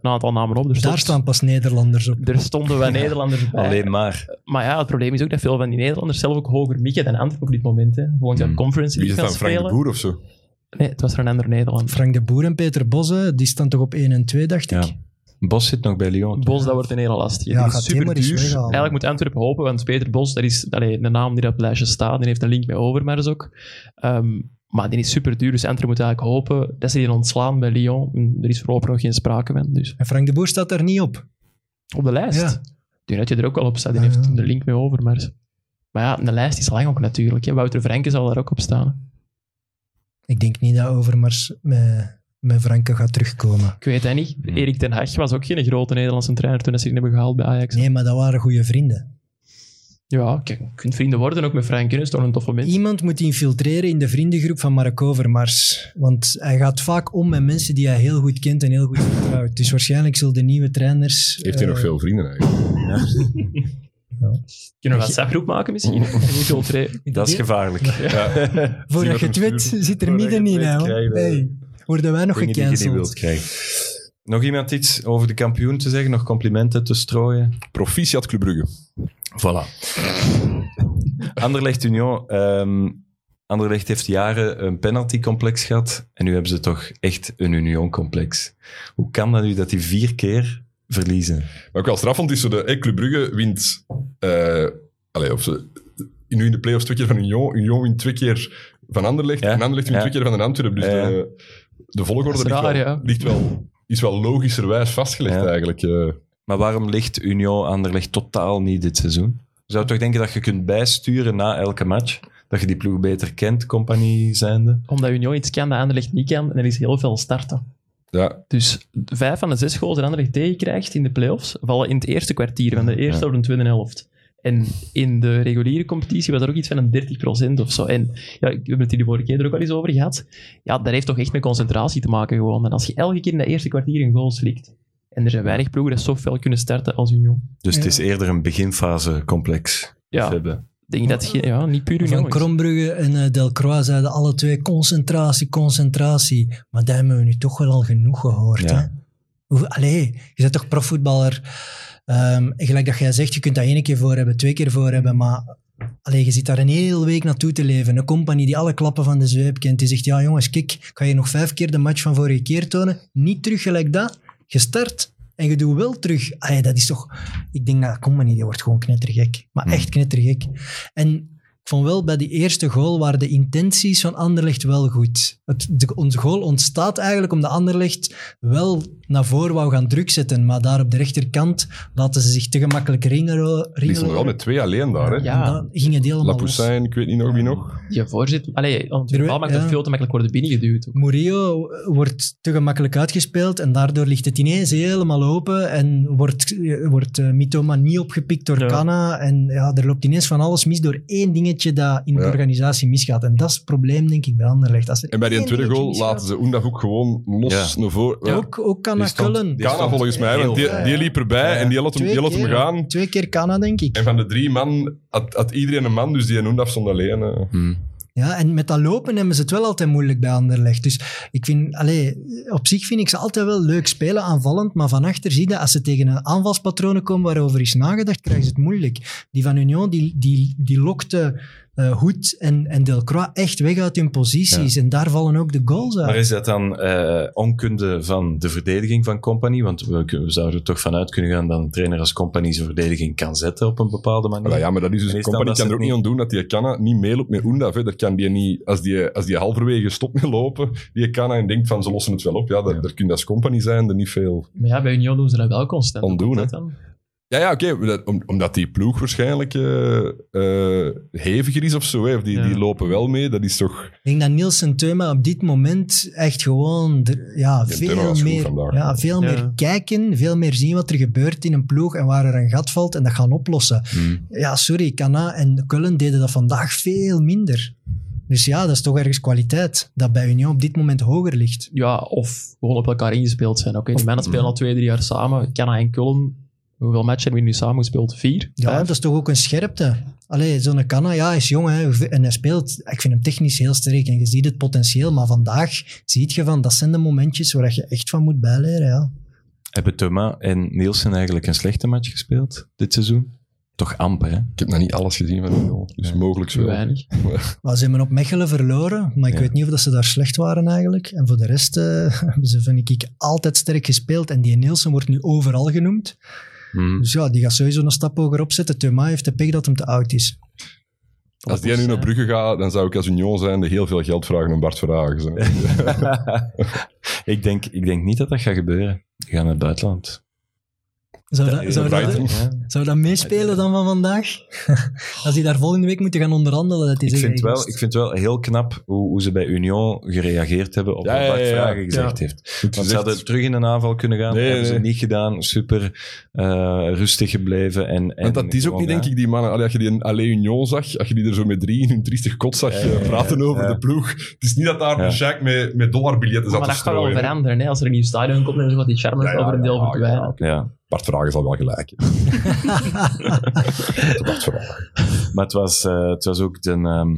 een aantal namen op. Er stond-
Daar staan pas Nederlanders op.
Er stonden wat Nederlanders bij.
Alleen maar.
Maar ja, het probleem is ook dat veel van die Nederlanders zelf ook hoger mikken dan Antwerpen op dit moment. Hè. Volgend
Hmm.
jaar conference
Wie is
League
dat,
gaan
dan, Frank de
spelen.
Boer of zo?
Nee, het was er een ander Nederlander.
Frank de Boer en Peter Bosse, die staan toch op 1 en 2, dacht ik?
Ja. Bos zit nog bij Lyon. toch?
Bos, dat wordt een hele lastige.
Ja,
Die is
gaat die maar eens
superduur.
weghalen.
Eigenlijk moet Antwerpen hopen, want Peter Bos, dat is allee, de naam die op het lijstje staat, die heeft een link met Overmars ook. Ehm, maar die is super duur, dus Antwerpen moet eigenlijk hopen dat ze die ontslaan bij Lyon. En Er is voorlopig nog geen sprake van. Dus
En Frank de Boer staat daar niet op.
op de lijst.
Ja.
Ik denk dat je er ook wel op staat. Die
Ja,
heeft
ja.
een link met Overmars. Maar ja, de lijst is lang ook natuurlijk. Hè. Wouter Vrenken zal daar ook op staan.
Ik denk niet dat Overmars met, met Franke gaat terugkomen.
Ik weet dat niet.
Hmm.
Erik ten Hag was ook geen grote Nederlandse trainer toen ze hem hebben gehaald bij Ajax.
Nee, maar dat waren goede vrienden.
Ja, kijk, je kunt vrienden worden ook met Vrenken. Dat is toch een tof moment.
Iemand moet infiltreren in de vriendengroep van Mark Overmars. Want hij gaat vaak om met mensen die hij heel goed kent en heel goed vertrouwt. Dus waarschijnlijk zullen de nieuwe trainers...
Heeft hij
eh,
nog veel vrienden eigenlijk?
Kunnen we een WhatsApp-groep maken misschien? Infiltreren.
Dat is gevaarlijk.
Voordat je het weet, zit er midden in. hè, hoor.
krijg je de-
Hey, worden wij nog
Dingen die je niet wilt
gecanceld?
krijgen. Nog iemand iets over de kampioen te zeggen? Nog complimenten te strooien?
Proficiat Club Brugge.
Voilà. Anderlecht Union. ehm, Anderlecht heeft jaren een penaltycomplex gehad. En nu hebben ze toch echt een Union-complex. Hoe kan dat nu dat die vier keer verliezen?
Maar ook wel straf, want het is zo de eh, Club Brugge wint... eh, allee, of ze, nu in de play-offs twee keer van Union. Union wint twee keer van Anderlecht.
Ja.
En Anderlecht wint
Ja.
twee keer van de Antwerp. Dus
Ja.
de, de volgorde
Dat is raar,
ligt, wel,
ja.
ligt wel is wel logischerwijs vastgelegd
Ja.
eigenlijk. eh.
Maar waarom ligt Union Anderlecht totaal niet dit seizoen? Je zou toch denken dat je kunt bijsturen na elke match? Dat je die ploeg beter kent, compagnie zijnde?
Omdat Union iets kan dat Anderlecht niet kan. En er is heel veel starten.
ja,
Dus vijf van de zes goals die Anderlecht tegenkrijgt in de playoffs, vallen in het eerste kwartier van de eerste of de tweede helft. En in de reguliere competitie was er ook iets van een 30% of zo. En ja, ik heb het hier de vorige keer er ook al eens over gehad. Ja, dat heeft toch echt met concentratie te maken gewoon. En als je elke keer in dat eerste kwartier een goal slikt. En er zijn weinig ploegen die zo fel kunnen starten als Union.
Dus het
Ja.
is eerder een beginfase complex.
Ja, ik
hebben.
denk dat je ja, niet puur Union
Van
is.
Krombrugge en eh, Delcroix zeiden alle twee concentratie, concentratie. Maar daar hebben we nu toch wel al genoeg gehoord.
Ja.
Hè? Hoe- Allee, je bent toch profvoetballer. Ehm, en gelijk dat jij zegt, je kunt dat één keer voor hebben, twee keer voor hebben, maar allee, je zit daar een hele week naartoe te leven. Een compagnie die alle klappen van de zweep kent, die zegt, ja jongens, kijk, ik ga je nog vijf keer de match van vorige keer tonen. Niet terug gelijk dat. Gestart en je doet wel terug. Allee, dat is toch... Ik denk, nou, compagnie, die wordt gewoon knettergek. Maar
Hmm.
echt knettergek. En ik vond wel bij die eerste goal waren de intenties van Anderlecht wel goed. Het, de, onze goal ontstaat eigenlijk omdat Anderlecht wel naar voren wou gaan druk zetten. Maar daar op de rechterkant laten ze zich te gemakkelijk ringelen.
die is nog wel met twee alleen daar. Hè?
Ja.
En dan gingen die helemaal los.
Lapoussin, ik weet niet nog wie nog.
Je voorzitter. Allee, want
Er-
de bal maakt dat
ja.
veel te makkelijk worden binnengeduwd. ook.
Murillo wordt te gemakkelijk uitgespeeld en daardoor ligt het ineens helemaal open en wordt, eh, wordt eh, Mitoma niet opgepikt door
Ja.
Canna en ja, er loopt ineens van alles mis door één dingetje dat in de
Ja.
organisatie misgaat. En dat is het probleem, denk ik, bij Anderlecht. Als er
En bij die
één
tweede
dingetje
goal
misgaat-
laten ze Oendaf ook gewoon los
Ja.
naar voren.
Ja,
Ja.
ook, ook Canna
Die stond-
Kullen.
die
Kana
stond
volgens mij, want
heel
die,
ver.
die liep erbij en die laat hem,
Twee
die laat hem
keer,
gaan.
Twee keer Canna, denk ik.
En van de drie man had, had iedereen een man, dus die Oendaf stond alleen. eh.
Ja, en met dat lopen hebben ze het wel altijd moeilijk bij Anderlecht. Dus ik vind, allee, op zich vind ik ze altijd wel leuk spelen aanvallend, maar van achter zie je dat als ze tegen een aanvalspatronen komen waarover is nagedacht, krijgen ze het moeilijk. Die van Union, die, die, die lokte eh, Hoed en, en Delcroix echt weg uit hun posities. En daar vallen ook de goals uit.
Maar is dat dan eh, onkunde van de verdediging van Company? Want we, kun- we zouden er toch vanuit kunnen gaan dat een trainer als Company zijn verdediging kan zetten op een bepaalde manier.
Maar ja, maar dat is dus
En
een
is dan
compagnie
dat
kan
ze
er ook
het
niet aan doen dat die Kana niet meeloopt met Oendaf. hè. Dat kan die niet, als die, als die halverwege stopt met lopen, die Kana en denkt van ze lossen het wel op. Ja, daar,
Ja.
daar kun je als compagnie zijn er niet veel
Maar ja, bij Union doen ze dat wel constant.
aan doen. Hè.
Dat dan?
Ja, ja oké. dat- om- omdat die ploeg waarschijnlijk eh, eh, heviger is of zo. Hè. Of Die,
Ja.
die lopen wel mee. Dat is toch...
Ik denk dat Nielsen Teuma op dit moment echt gewoon de- ja,
Ja,
veel,
Teuma was goed
meer,
vandaag.
ja, veel
Ja.
meer kijken, veel meer zien wat er gebeurt in een ploeg en waar er een gat valt en dat gaan oplossen.
Hmm.
Ja, sorry, Kana en Cullen deden dat vandaag veel minder. Dus ja, dat is toch ergens kwaliteit dat bij Union op dit moment hoger ligt.
Ja, of gewoon op elkaar ingespeeld zijn. Oké, de mannen spelen al twee, drie jaar samen. Canna en Kullen, hoeveel matchen hebben we nu samen gespeeld? Vier?
Ja,
Vijf?
dat is toch ook een scherpte. Allee, zo'n Kana, ja, hij is jong hè, en hij speelt. Ik vind hem technisch heel sterk en je ziet het potentieel, maar vandaag ziet je van, dat zijn de momentjes waar je echt van moet bijleren, ja.
Hebben Thomas en Nielsen eigenlijk een slechte match gespeeld dit seizoen? Toch amper, hè?
Ik heb nog niet alles gezien van die goal. Dus mogelijk
Zo
wel.
weinig.
Maar ze hebben op Mechelen verloren, maar ik
Ja.
weet niet of dat ze daar slecht waren eigenlijk. En voor de rest eh, hebben ze, vind ik, altijd sterk gespeeld. En die Nielsen wordt nu overal genoemd.
Hmm.
Dus ja, die gaat sowieso een stap hoger opzetten. Thuma heeft de pech dat hem te oud is.
Als die nu naar Brugge gaat, dan zou ik als Union zijn heel veel geld vragen om Bart Verhagen. zo.
ik, denk, ik denk niet dat dat gaat gebeuren. Die gaan naar het buitenland.
Zou dat, zou, dat,
Brighton.
Ja.
zou dat meespelen dan van vandaag? Als die daar volgende week moeten gaan onderhandelen, dat is
Ik vind, wel, ik vind wel heel knap hoe, hoe ze bij Union gereageerd hebben op
Ja,
wat Bart
ja, ja, ja.
Vragen gezegd
Ja.
heeft.
Het is
Want ze
echt-
hadden terug in een aanval kunnen gaan,
Nee,
hebben ze
nee.
niet gedaan. Super eh, rustig gebleven. En, en
Want dat is ook
gewoon,
niet, denk
ja.
ik, die mannen. Allee, als je die in Allee Union zag, als je die er zo met drie in hun triestig kot zag eh, praten over
ja.
de ploeg. Het is niet dat daar
Ja.
een shack met, met dollarbiljetten zat
Maar
te
dat gaat wel
strooien. hè.
veranderen. Hè? Als er een nieuw stadion komt, dan gaat die charme
Ja, ja,
over een deel
ja, ja,
verdwijnen.
ja.
Ja,
Bart Verhagen zal wel gelijk. hebben. Bart Verhagen.
maar het was, eh, het was ook de... ehm,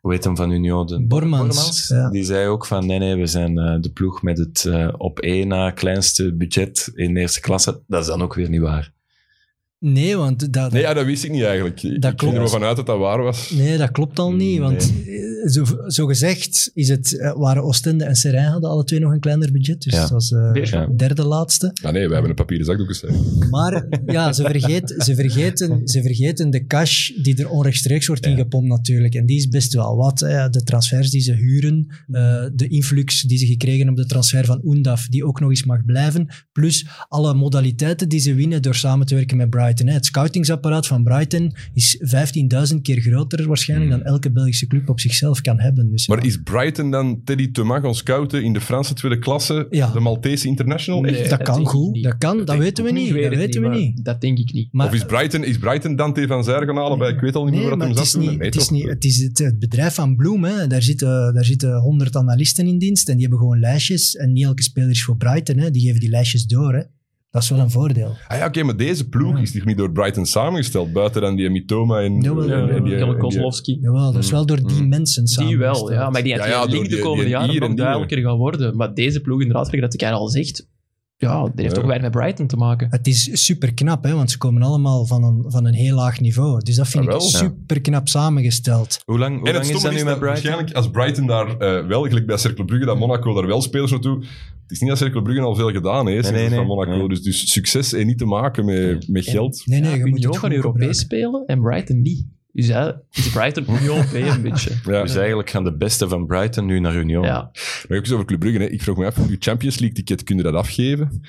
hoe heet hem van Union? De,
Bormans, ja.
Die zei ook van, nee, nee, we zijn eh, de ploeg met het eh, op één na kleinste budget in de eerste klasse. Dat is dan ook weer niet waar.
Nee, want dat,
Nee, ja, dat wist ik niet eigenlijk. ik
Dat
ging
klopt.
er wel vanuit dat dat waar was.
Mm,
nee, dat klopt al niet. Want eh, zo, zo gezegd is het, eh, waren Oostende en Serijn hadden alle twee nog een kleiner budget. Dus
Ja.
dat was eh,
Ja.
derde laatste.
Ah nee, wij hebben een papieren zakdoek gezet.
Maar ja, ze, vergeet, ze, vergeten, ze vergeten de cash die er onrechtstreeks wordt ingepompt natuurlijk. En die is best wel wat. hè. De transfers die ze huren, eh, de influx die ze gekregen op de transfer van Oendaf, die ook nog eens mag blijven. Plus alle modaliteiten die ze winnen door samen te werken met Brighton. hè. Het scoutingsapparaat van Brighton is 15.000 keer groter waarschijnlijk dan elke Belgische club op zichzelf kan hebben. Dus ja.
Maar is Brighton dan Teddy Thomas gaan scouten in de Franse tweede klasse?
Ja.
De Maltese International?
Nee.
Echt?
dat
dat
kan
denk ik
goed,
niet.
dat kan, dat,
denk ik
weten we
ook
niet.
ik weet
Dat
het
weten we
maar
niet.
Dat denk ik niet.
Maar-
Of is Brighton, is Brighton Dante van Zijr gaan halen? bij- Ik weet al niet meer
Nee,
wat
maar
hem
het
zat
is,
toen.
niet,
Nee,
het, is
toch?
eh.
niet, het is het, het bedrijf van Bloem. Hè. Daar, zitten, daar zitten 100 analisten in dienst en die hebben gewoon lijstjes. En niet elke speler is voor Brighton. Hè. Die geven die lijstjes door. Hè. Dat is wel een voordeel.
Ah ja, oké, maar deze ploeg is toch niet door Brighton samengesteld? Buiten dan die Mitoma en...
Jawel,
en- en die-
Ja,
en die-
Jelle
en die-
Kozlowski.
Jawel, dat is wel door die
Mm.
mensen samen.
Die wel, ja. Maar ik denk dat
Ja, ja,
die link
door
de
die-
komende
die
jaren
hier en
nog
die,
duidelijker gaat worden. Maar deze ploeg, inderdaad, wat de al zegt, ja, die heeft
Ja.
toch weinig met Brighton te maken.
Het is super knap, hè, want ze komen allemaal van een, van een heel laag niveau. Dus dat vind
Ah,
ik
wel.
super knap samengesteld.
Hoe lang, hoe
En het
lang is dat
stomme
nu
is
met
dat
Brighton?
waarschijnlijk als Brighton daar eh, wel, gelijk bij Cercle Brugge, dat Monaco daar wel spelers naartoe... Het is niet dat Cercle Brugge al veel gedaan heeft
Nee,
sinds
nee,
het van
nee.
Monaco.
Nee.
Dus, dus succes heeft niet te maken met, met geld.
Nee, nee, je moet
Union
het
kan
goed
Europees
Europees.
spelen en Brighton niet. Dus ja, is Brighton Union B een beetje.
Ja.
Dus eigenlijk gaan de beste van Brighton nu naar Union.
Ja.
Maar ook eens over Club Brugge. Hè. Ik vraag me af, uw Champions League-ticket, kun je dat afgeven?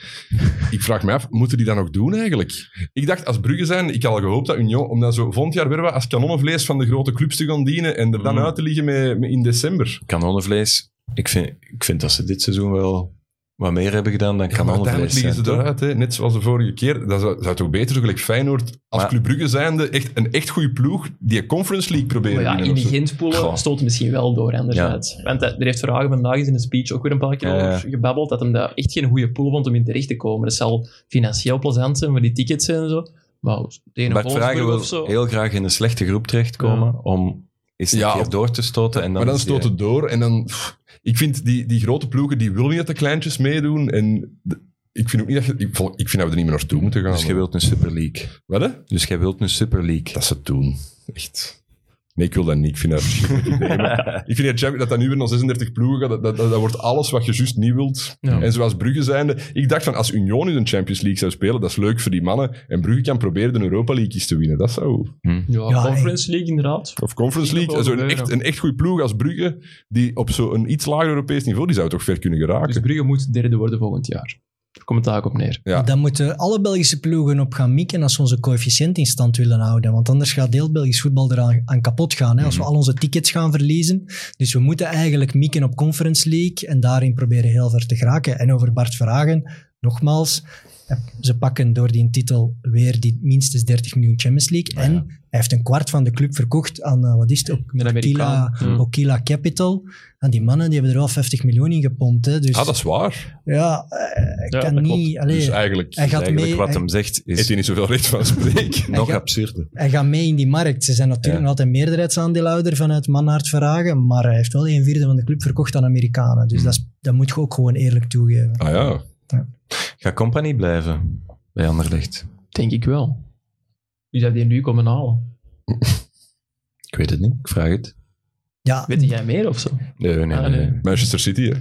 ik vraag me af, moeten die dat nog doen eigenlijk? Ik dacht, als Brugge zijn, ik had al gehoopt dat Union, om dan zo volgend jaar weer wat als kanonnenvlees van de grote clubs te gaan dienen en er dan
Mm.
uit te liggen met, met in december.
Kanonnenvlees. Ik vind, ik vind dat ze dit seizoen wel wat meer hebben gedaan dan
maar
kanonnenvlees.
uiteindelijk liggen ze
zijn, toch?
eruit, hè. net zoals de vorige keer. Dat zou, zou toch beter, zo gelijk Feyenoord, als
Maar-
Club Brugge zijnde, echt een echt goede ploeg die een Conference League proberen
Maar ja,
winnen
in
of
die
zo.
Goh.
Gentpoelen stoot misschien wel door, anderzijds. Want hij- er heeft vragen vandaag is in de speech ook weer een paar keer
Ja, ja.
over gebabbeld, dat hem daar echt geen goede pool vond om in terecht te komen. Dat zal financieel plezant zijn, voor die tickets en zo. Maar de ene
Bart Vragen
Wolfsburg
wil
of zo.
heel graag in een slechte groep terechtkomen om eens een
Ja,
keer
of-
door te stoten. En dan
maar dan
is die-
stoot het door en dan... pff, ik vind die, die grote ploegen, die willen niet dat de kleintjes meedoen. En de- ik vind ook niet dat je... Ik, vol- ik vind dat we er niet meer naartoe moeten gaan.
Dus jij wilt een Super League.
Wat, hè?
Dus jij wilt een Super League.
Dat ze het doen. Echt. Nee, ik wil dat niet. Ik vind dat... een verschrikkelijk idee, maar ik vind dat, Champions- dat dat nu weer naar 36 ploegen gaat, dat, dat, dat, dat wordt alles wat je juist niet wilt.
Ja.
En zoals Brugge zijnde... Ik dacht van, als Union in de Champions League zou spelen, dat is leuk voor die mannen. En Brugge kan proberen de Europa League eens te winnen. Dat zou...
Hm?
Ja,
Ja,
Conference League inderdaad.
Of Conference
Ik
League.
wil
Zo
wel
een, echt,
gebeuren.
een echt goede ploeg als Brugge, die op zo'n iets lager Europees niveau, die zou toch ver kunnen geraken.
Dus Brugge moet derde worden volgend jaar. Daar komt het eigenlijk op neer.
Ja.
Dan moeten alle Belgische ploegen op gaan mikken als we onze coëfficiënt in stand willen houden. Want anders gaat heel Belgisch voetbal eraan aan kapot gaan. Hè, als we
Mhm.
al onze tickets gaan verliezen. Dus we moeten eigenlijk mikken op Conference League en daarin proberen heel ver te geraken. En over Bart Vragen, nogmaals. eh, Ze pakken door die titel weer die minstens 30 miljoen Champions League.
Ah,
En hij heeft een kwart van de club verkocht aan, eh, wat is het, Ook-
Een Amerikaan. Oh,
Okila,
Mm.
Ja.
Okila Capital. En die mannen die hebben er wel 50 miljoen in gepompt. Hè, dus
Ah, dat is waar.
ja, eh, ik
Ja,
kan
dat klopt.
niet... allee,
dus eigenlijk
hij
heeft
gaat
Eigenlijk
mee,
wat
hij-
hem zegt is
hij niet zoveel recht van spreken.
nog
gaat-
absurder.
Hij gaat mee in die markt. Ze zijn natuurlijk
Ja.
nog altijd meerderheidsaandeelhouder vanuit Manhart Verhagen, maar hij heeft wel een vierde van de club verkocht aan Amerikanen.
Hmm.
Dus dat, is- dat moet je ook gewoon eerlijk toegeven.
Ah ja.
Ga Company blijven bij Anderlecht?
Denk ik wel. Wie zou die nu komen halen?
Ik weet het niet, ik vraag het.
Ja,
Weet jij meer of zo?
Nee, nee, nee.
Ah,
nee.
nee.
Eh, Manchester City, hè.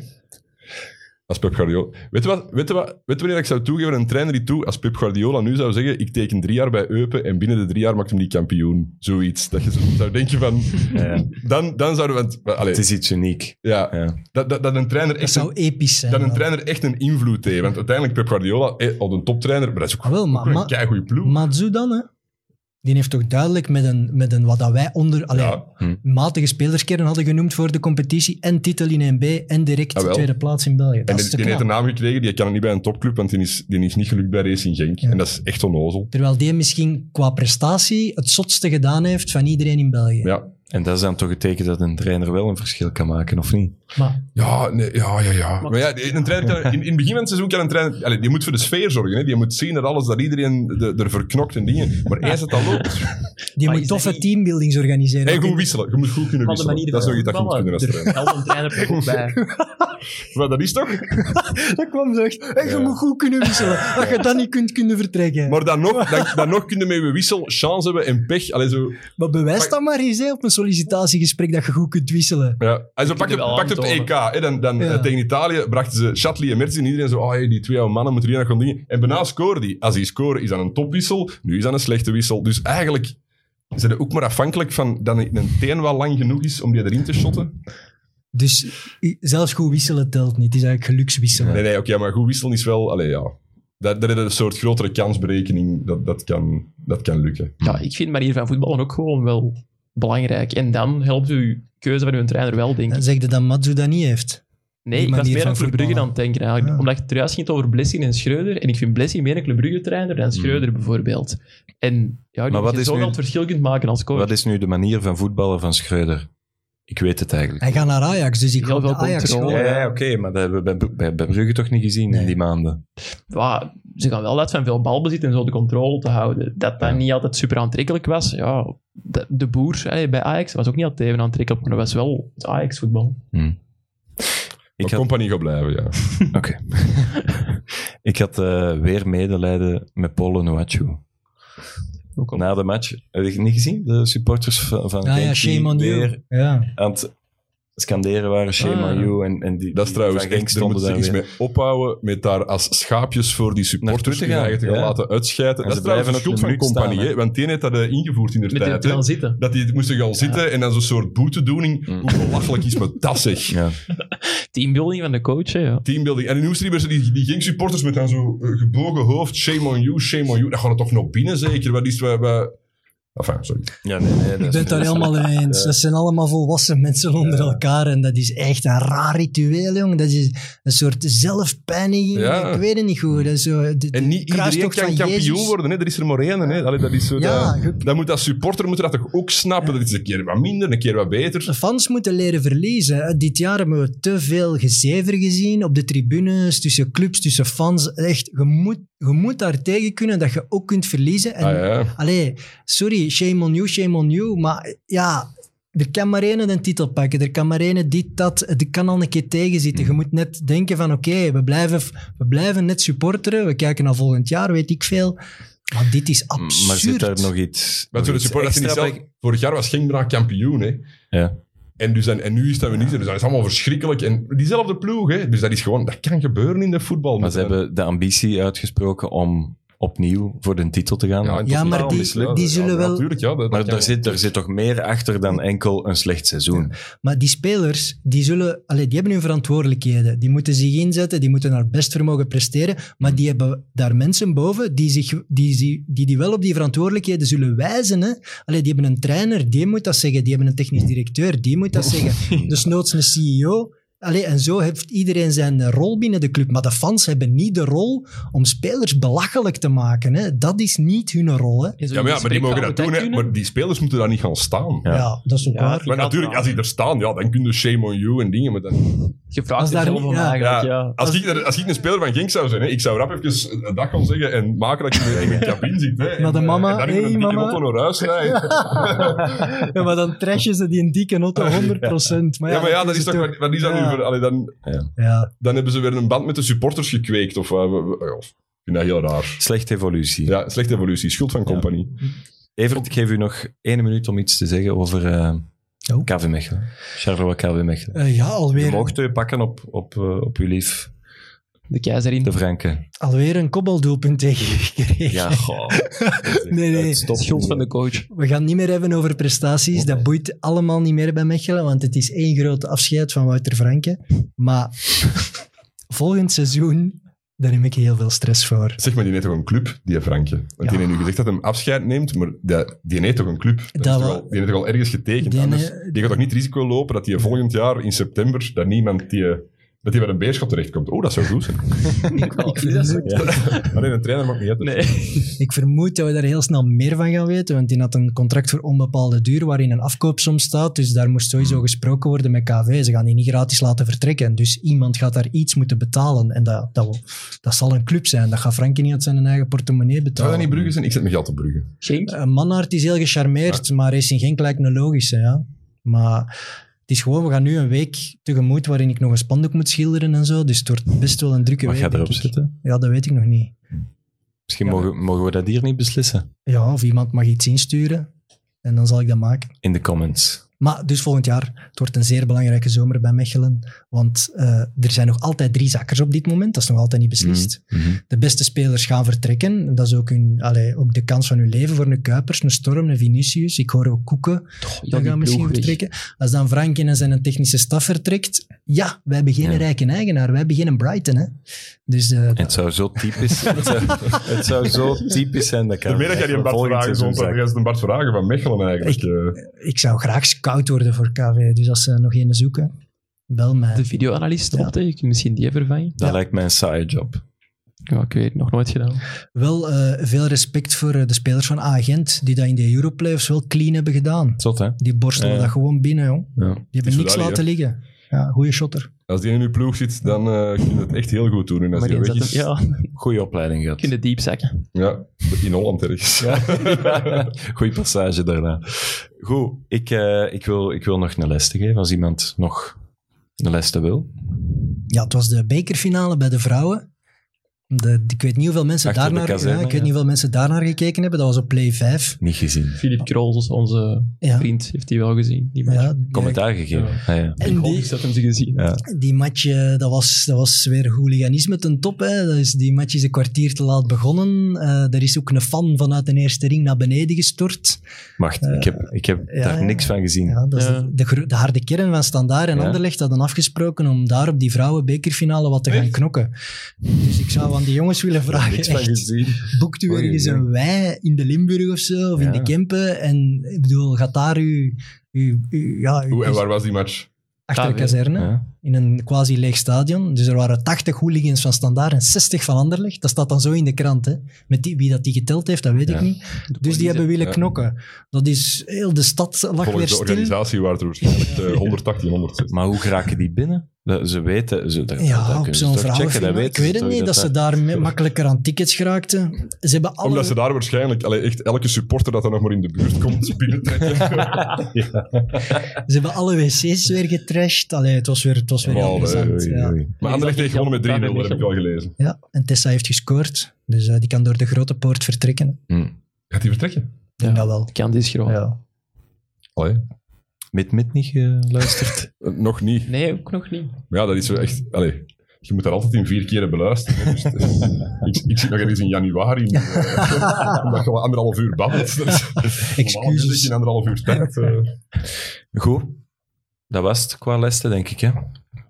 Als Pep Guardiola. Weet je, wat, weet, je wat, weet je wanneer ik zou toegeven aan een trainer die toe, als Pep Guardiola nu zou zeggen, ik teken drie jaar bij Eupen en binnen de drie jaar maakt hem die kampioen. Zoiets. Dat je zo- zou denken van...
Ja, ja.
Dan, dan zouden we... het- maar, Allee,
Het is iets uniek.
ja,
Ja.
dat, dat, dat een trainer
dat
echt...
zou
Een,
episch zijn.
dat een
wel.
trainer echt een invloed heeft. Want uiteindelijk Pep Guardiola, eh, al een toptrainer, maar dat is ook,
Ah, wel, maar,
ook een
maar,
keigoede ploeg.
Matsu dan, hè? Die heeft toch duidelijk met een, met een wat dat wij onder... Allee,
Ja.
Hm.
matige spelerskern hadden genoemd voor de competitie en titel in 1B en direct
Ah, wel.
tweede plaats in België.
En
Dat is
die,
te
die heeft een
knap.
naam gekregen, die kan niet bij een topclub, want die is, die is niet gelukt bij Racing Genk.
Ja.
En dat is echt onnozel.
Terwijl die misschien qua prestatie het zotste gedaan heeft van iedereen in België.
Ja,
En dat is dan toch het teken dat een trainer wel een verschil kan maken, of niet?
Maar
ja, nee, ja, ja. ja. Maar ja, die- een trainer kan, in, in het begin van het seizoen kan een trainer... Allee, die moet voor de sfeer zorgen. Hè. Die moet zien dat alles, dat iedereen de- ervoor knokt en dingen. Maar eens het al loopt...
Die
Maar
moet
is dat
toffe
niet-
teambuildings organiseren.
En goed wisselen. Je moet goed kunnen
van de
wisselen.
manier
Dat is nog iets dat je moet kunnen als trainer.
Helpt een trainer er ook bij.
Maar dat is toch?
Dat kwam zo echt. En je moet goed kunnen wisselen. Dat je dat niet kunt kunnen vertrekken. Maar,
Maar dan nog, dan, dan nog kunnen we met wissel chance hebben en pech. Allee, zo...
bewijs dat maar eens hè, op een sollicitatiegesprek dat je goed kunt wisselen.
Ja. En zo
kunt
pakt het,
je wel
pakt het EK.
aantonen.
Hè? Dan, dan,
Ja.
eh, tegen Italië brachten ze Shatley en Mertens en iedereen zo, oh, hey, die twee oude mannen moeten hier nog gaan dingen. En bijna scoorde die. Als die scoren is dat een topwissel, nu is dat een slechte wissel. Dus eigenlijk zijn ze ook maar afhankelijk van dat een teen wel lang genoeg is om die erin te shotten.
Dus i- zelfs goed wisselen telt niet. Het is eigenlijk gelukswisselen.
Nee, nee, oké, maar goed wisselen is wel... Allee, ja. Dat, dat is een soort grotere kansberekening. Dat, dat, kan, dat kan lukken.
Ja, ik vind de manier van voetballen ook gewoon wel belangrijk. En dan helpt uw keuze van uw trainer wel, denk
Dan
ik.
zeg je dat Matsu dat niet heeft.
Nee,
die
ik was
manier
meer
van
aan Club Brugge
voetballen.
dan het denken eigenlijk.
Ja.
Omdat je het juist ging over Blessing en Schreuder. En ik vind Blessing meer een Club Brugge trainer
Hmm.
dan Schreuder bijvoorbeeld. En ja,
Maar wat
maar wat je
is
zo
nu-
wel het verschil kunt maken als coach.
Wat is nu de manier van voetballen van Schreuder? Ik weet het eigenlijk.
Hij gaat naar Ajax, dus ik
Heel
hoop
veel
dat Ajax
controle.
gewoon-
Ja, ja, oké, maar dat hebben we bij, bij, bij Brugge toch niet gezien
Nee.
in die maanden.
ja, ze gaan wel uit van veel balbezit en zo de controle te houden. Dat dat
Ja.
niet altijd super aantrekkelijk was. Ja, de, de boer allee, bij Ajax was ook niet altijd even aantrekkelijk, maar dat was wel het Ajax-voetbal.
Ik
Maar
had,
compagnie gaat blijven, ja.
oké. ik had eh, weer medelijden met Polo Nuachu.
Ook al-
Na de match, heb je het niet gezien? De supporters van, van
Ah ja,
Genk die
shame on
weer
you. Ja.
aan het scanderen waren, shame
Ah.
on you. En, en die,
Dat is
die
trouwens
van Genk
echt, daar moeten ze
daar
iets
weer.
mee ophouden, met daar als schaapjes voor die supporters
Naartoe te
hun
gaan,
eigen te gaan
ja.
laten uitscheiden.
En
dat
ze
is trouwens de
blijven op
schuld
de
van
minuut
compagnie,
staan,
hè. want die heeft dat eh, ingevoerd in de
Met die
tijd. hè.
gaan zitten.
Dat die moesten gaan zitten en dan zo'n soort boetedoening.
Mm.
Hoe belachelijk is me dat zeg.
Ja.
Teambuilding van de coach, hè, ja.
Teambuilding. En in Oesterriebers, die, die ging supporters met dan zo eh, gebogen hoofd. Shame on you, shame on you. Dat gaat er toch nog binnen zeker? Wat is we, we... Enfin, sorry.
Ja, nee, nee, dat
Ik
is-
ben het daar helemaal mee eens. Dat zijn allemaal volwassen mensen onder elkaar. En dat is echt een raar ritueel, jong. Dat is een soort zelfpijniging.
Ja.
Ik weet het niet goed. Dat is zo, de- de
En niet iedereen
kruistocht
kan
van
kampioen
Jezus.
worden. Hè? Er is er maar één. Hè? Allee, dat is zo,
Ja,
dat,
goed.
dat moet dat supporter moet dat toch ook snappen. Dat is een keer wat minder, een keer wat beter.
Fans moeten leren verliezen. Eh, Dit jaar hebben we te veel gezever gezien op de tribunes, tussen clubs, tussen fans. Echt, je moet, je moet daar tegen kunnen dat je ook kunt verliezen. En,
Ah, ja.
Allee, sorry, shame on you, shame on you. Maar eh, ja, er kan maar één een titel pakken. Er kan maar één dit, dat. Het kan al een keer tegenzitten. Je
Hmm.
moet net denken van oké, we, blijven, we blijven net supporteren. We kijken naar volgend jaar, weet ik veel. Maar dit is absurd.
Maar zit daar nog iets...
Maar
nog
toen de
iets
supporters niet
extra
zelf...
bij-
Vorig jaar was Genk bijna kampioen, hè.
Ja.
En, dus dan, en nu is dat we niet. Dus dat is allemaal verschrikkelijk. En diezelfde ploeg, hè. Dus dat is gewoon... Dat kan gebeuren in de voetbal. Dus
Maar ze hebben de ambitie uitgesproken om opnieuw voor de titel te gaan.
Ja, en
Ja,
tot
maar
totaal
die-
mislukt.
die zullen
Ja,
wel-
Natuurlijk, ja. dat-
maar
dat kan-
daar zit, daar zit toch meer achter dan enkel een slecht seizoen.
Maar die spelers, die, zullen, allee, die hebben hun verantwoordelijkheden. Die moeten zich inzetten, die moeten naar best vermogen presteren. Maar die hebben daar mensen boven die zich, die, die, die, die wel op die verantwoordelijkheden zullen wijzen. Hè? Allee, die hebben een trainer, die moet dat zeggen. Die hebben een technisch directeur, die moet dat zeggen. Dus noods een CEO. Allee, en zo heeft iedereen zijn eh, rol binnen de club. Maar de fans hebben niet de rol om spelers belachelijk te maken. Hè? Dat is niet hun rol. Hè?
In zo'n
Ja, maar, ja, maar die
gesprek
mogen
zou
dat
je
doen, hè.
kunnen.
Maar die spelers moeten daar niet gaan staan.
Ja.
Ja, dat is ook
Ja,
waar.
het
Maar natuurlijk, als die er staan, ja, dan kun je shame on you en dingen. Maar dan,
Je vraagt
Als
er
daar
zelf
niet-
om
ja.
eigenlijk,
Ja.
ja.
als, ik, er- als ik een speler van Genk zou zijn, hè, ik zou rap even een dag gaan zeggen en maken dat je weer in de cabine zit. Hè,
Maar de
En, eh,
mama,
en dan in
hey,
een dikke
mama.
auto naar huis rijden.
Ja, maar dan trashen ze die een dikke auto 100%. Maar ja,
Ja, maar ja, dat is
het
toch... Wat wat is dat nu
Ja.
voor... Allee, dan,
Ja,
dan hebben ze weer een band met de supporters gekweekt. Of, eh, we- we- ja, ik vind dat heel raar.
Slechte evolutie.
Ja, slechte evolutie. Schuld van compagnie.
Evert, ik geef u nog één minuut om iets te zeggen over eh
Oh.
KV Mechelen. Charleroi KV Mechelen.
Eh, ja
Je
alweer,
mocht u pakken op, op, eh, op uw lief,
De keizerin.
de Franken.
alweer een kobbeldoelpunt tegengekregen.
Ja, goh.
Nee, nee.
Stop.
schuld van de coach.
We gaan het niet meer hebben over prestaties. Dat boeit allemaal niet meer bij Mechelen, want het is één grote afscheid van Wouter Franke. Maar volgend seizoen, daar heb ik heel veel stress voor.
Zeg maar, die heeft toch een club, die Frankje? Want die heeft nu gezegd dat hij afscheid neemt, maar dat- die heeft toch een club? Dat is
Dat
toch
wel.
al- die heeft toch al ergens getekend?
Die
Die, Anders,
ne-
die gaat toch niet het risico lopen dat hij volgend jaar in september, dat niemand die... Dat hij bij een beerschap terechtkomt. Oh, dat zou goed zijn.
Ik vermoed,
Alleen een trainer mag niet uit.
Nee.
ik vermoed dat we daar heel snel meer van gaan weten, want die had een contract voor onbepaalde duur waarin een afkoopsom staat, dus daar moest
Hmm.
sowieso gesproken worden met KV. Ze gaan die niet gratis laten vertrekken, dus iemand gaat daar iets moeten betalen. En dat, dat, dat zal een club zijn, dat gaat Franke niet uit zijn eigen portemonnee
Zou
betalen.
dat niet Brugge zijn? Ik zet mijn geld op Brugge.
James?
Een Manhart is heel gecharmeerd, maar Racing Genk lijkt een logische. Ja. Maar het is gewoon, we gaan nu een week tegemoet waarin ik nog een spandoek moet schilderen en zo. Dus het wordt best wel een drukke
Mag
week.
jij erop
denk ik.
zitten?
Ja, dat weet ik nog niet.
Misschien mogen, mogen we dat hier niet beslissen.
Ja, of iemand mag iets insturen. En dan zal ik dat maken.
in de comments.
Maar dus volgend jaar, het wordt een zeer belangrijke zomer bij Mechelen. Want eh, er zijn nog altijd drie zakkers op dit moment. Dat is nog altijd niet
Mhm.
beslist.
Mhm.
De beste spelers gaan vertrekken. Dat is ook, hun, allee, ook de kans van hun leven voor een Kuipers, een Storm, een Vinicius. Ik hoor ook Koeken.
Ja,
Dat
die
gaan misschien
ploeg weg.
vertrekken. Als dan Franken en zijn technische staf vertrekt. Ja, wij hebben geen
Ja.
rijke eigenaar. Wij hebben geen Brighton. Hè? Dus eh,
Het zou zo typisch, het zou, het zou zo typisch zijn dat
De
kan.
meer dat jij die Bart Vragen zond, dan is het een Bart Vragen van Mechelen eigenlijk. eh.
ik zou graag scout worden voor KV. Dus als ze nog een zoeken, bel mij.
De videoanalist
Ja.
op, je kunt misschien die vervangen.
Dat
Ja.
lijkt mij een saaie job.
Ja, ik weet het, nog nooit gedaan.
Wel eh, veel respect voor eh, de spelers van Agent, die dat in de Europlayoffs wel clean hebben gedaan.
Zot, hè?
Die borstelen
Ja.
dat gewoon binnen, joh.
Ja.
Die
Is
hebben niks
wel daar,
laten liggen. Ja, goede shotter.
als die in uw ploeg zit, dan eh kun je het echt heel goed doen. En als
Maar
die
die
weg
zat
is,
hem, ja,
Goeie opleiding gehad.
kunnen diep zakken.
ja, in Holland ergens.
Goeie passage daarna. Goed, ik, eh, ik, wil, ik wil nog een les te geven als iemand nog een les te wil.
Ja, het was de bekerfinale bij de vrouwen. De, ik weet niet hoeveel mensen
Achter de
daarnaar
kazerne,
ja, ik weet
ja.
niet hoeveel mensen daarnaar gekeken hebben. Dat was op Play 5.
Niet gezien.
Filip Krols, onze
Ja.
vriend, heeft die wel gezien. Die match.
Ja,
Commentaar gegeven.
Ja.
Ah, ja.
Ik
En
hoop
die,
niet dat hem ze gezien heeft.
die match, eh, dat was, dat was weer hooliganisme ten top. Hè. Dat is, die match is een kwartier te laat begonnen. Eh er is ook een fan vanuit de eerste ring naar beneden gestort.
Wacht, ik heb, ik heb
Eh, ja,
daar
ja.
niks van gezien.
Ja, dat is
Ja.
De, de, gro- de harde kern van Standaard en
Ja.
Anderlecht hadden afgesproken om daar op die vrouwenbekerfinale wat te gaan knokken. Dus ik zou aan die jongens willen vragen,
Niks van
echt,
gezien.
boekt u
Oei,
ergens
oei.
een wij in de Limburg of zo, of in
Ja.
de Kempen? En ik bedoel, gaat daar u... u, u- ja, u
Hoe en waar was die match?
achter de
KV?
kazerne,
Ja.
in een quasi leeg stadion. Dus er waren 80 hooligans van Standaard en 60 van Anderlecht. Dat staat dan zo in de krant, hè. Met die, wie dat die geteld heeft, dat weet
Ja.
ik niet. Dus die hebben willen
ja.
knokken. Dat is... Heel de stad lag weer
Volgens de
stil.
organisatie waren het er waarschijnlijk eh, 118, 160.
Maar hoe geraken die binnen? Dat- ze weten, ze, dat, dat
Ja, op
kunnen ze
zo'n
toch checken, dat
vrouwenfinale. Ik
weten ze
weet het
toch,
niet, dat ze daar me- makkelijker aan tickets geraakten. Ze hebben alle...
Omdat ze daar waarschijnlijk, allee, echt elke supporter dat er nog maar in de buurt komt, binnentrekken.
Ze hebben alle wc's weer getrashed. Allee, het was weer, het was weer heel
Wow,
plezant.
Oei,
Ja.
oei.
Maar Anderlecht heeft gewonnen met 3-0, dat heb ik al gelezen.
ja, en Tessa heeft gescoord. Dus eh, die kan door de grote poort vertrekken. Ik
Hm.
Gaat die vertrekken?
denk
Ja.
dat wel.
De kant is groot.
Ja.
Allee.
Met mid niet geluisterd.
Eh, Nog niet.
Nee, ook nog niet.
Maar ja, dat is wel echt... Allee, je moet daar altijd in vier keren beluisteren. hè, dus het is- ik, ik zit nog ergens in januari. eh, Omdat je wel anderhalf uur babbelt. Dat is- normaal zit ik
Excuses.
in anderhalf uur tijd. eh.
Goed. Dat was het qua lessen, denk ik. Hè?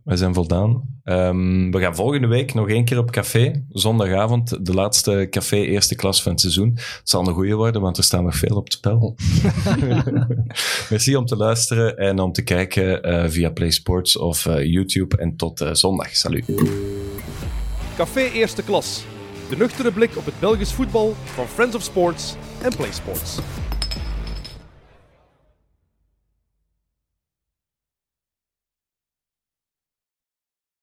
We zijn voldaan. Ehm, we gaan volgende week nog één keer op café. Zondagavond, de laatste café eerste klas van het seizoen. Het zal een goeie worden, want er staan nog veel op het spel. Merci om te luisteren en om te kijken eh, via Play Sports of eh, YouTube. En tot eh, zondag. Salut.
Café Eerste Klas. De nuchtere blik op het Belgisch voetbal van Friends of Sports en Play Sports.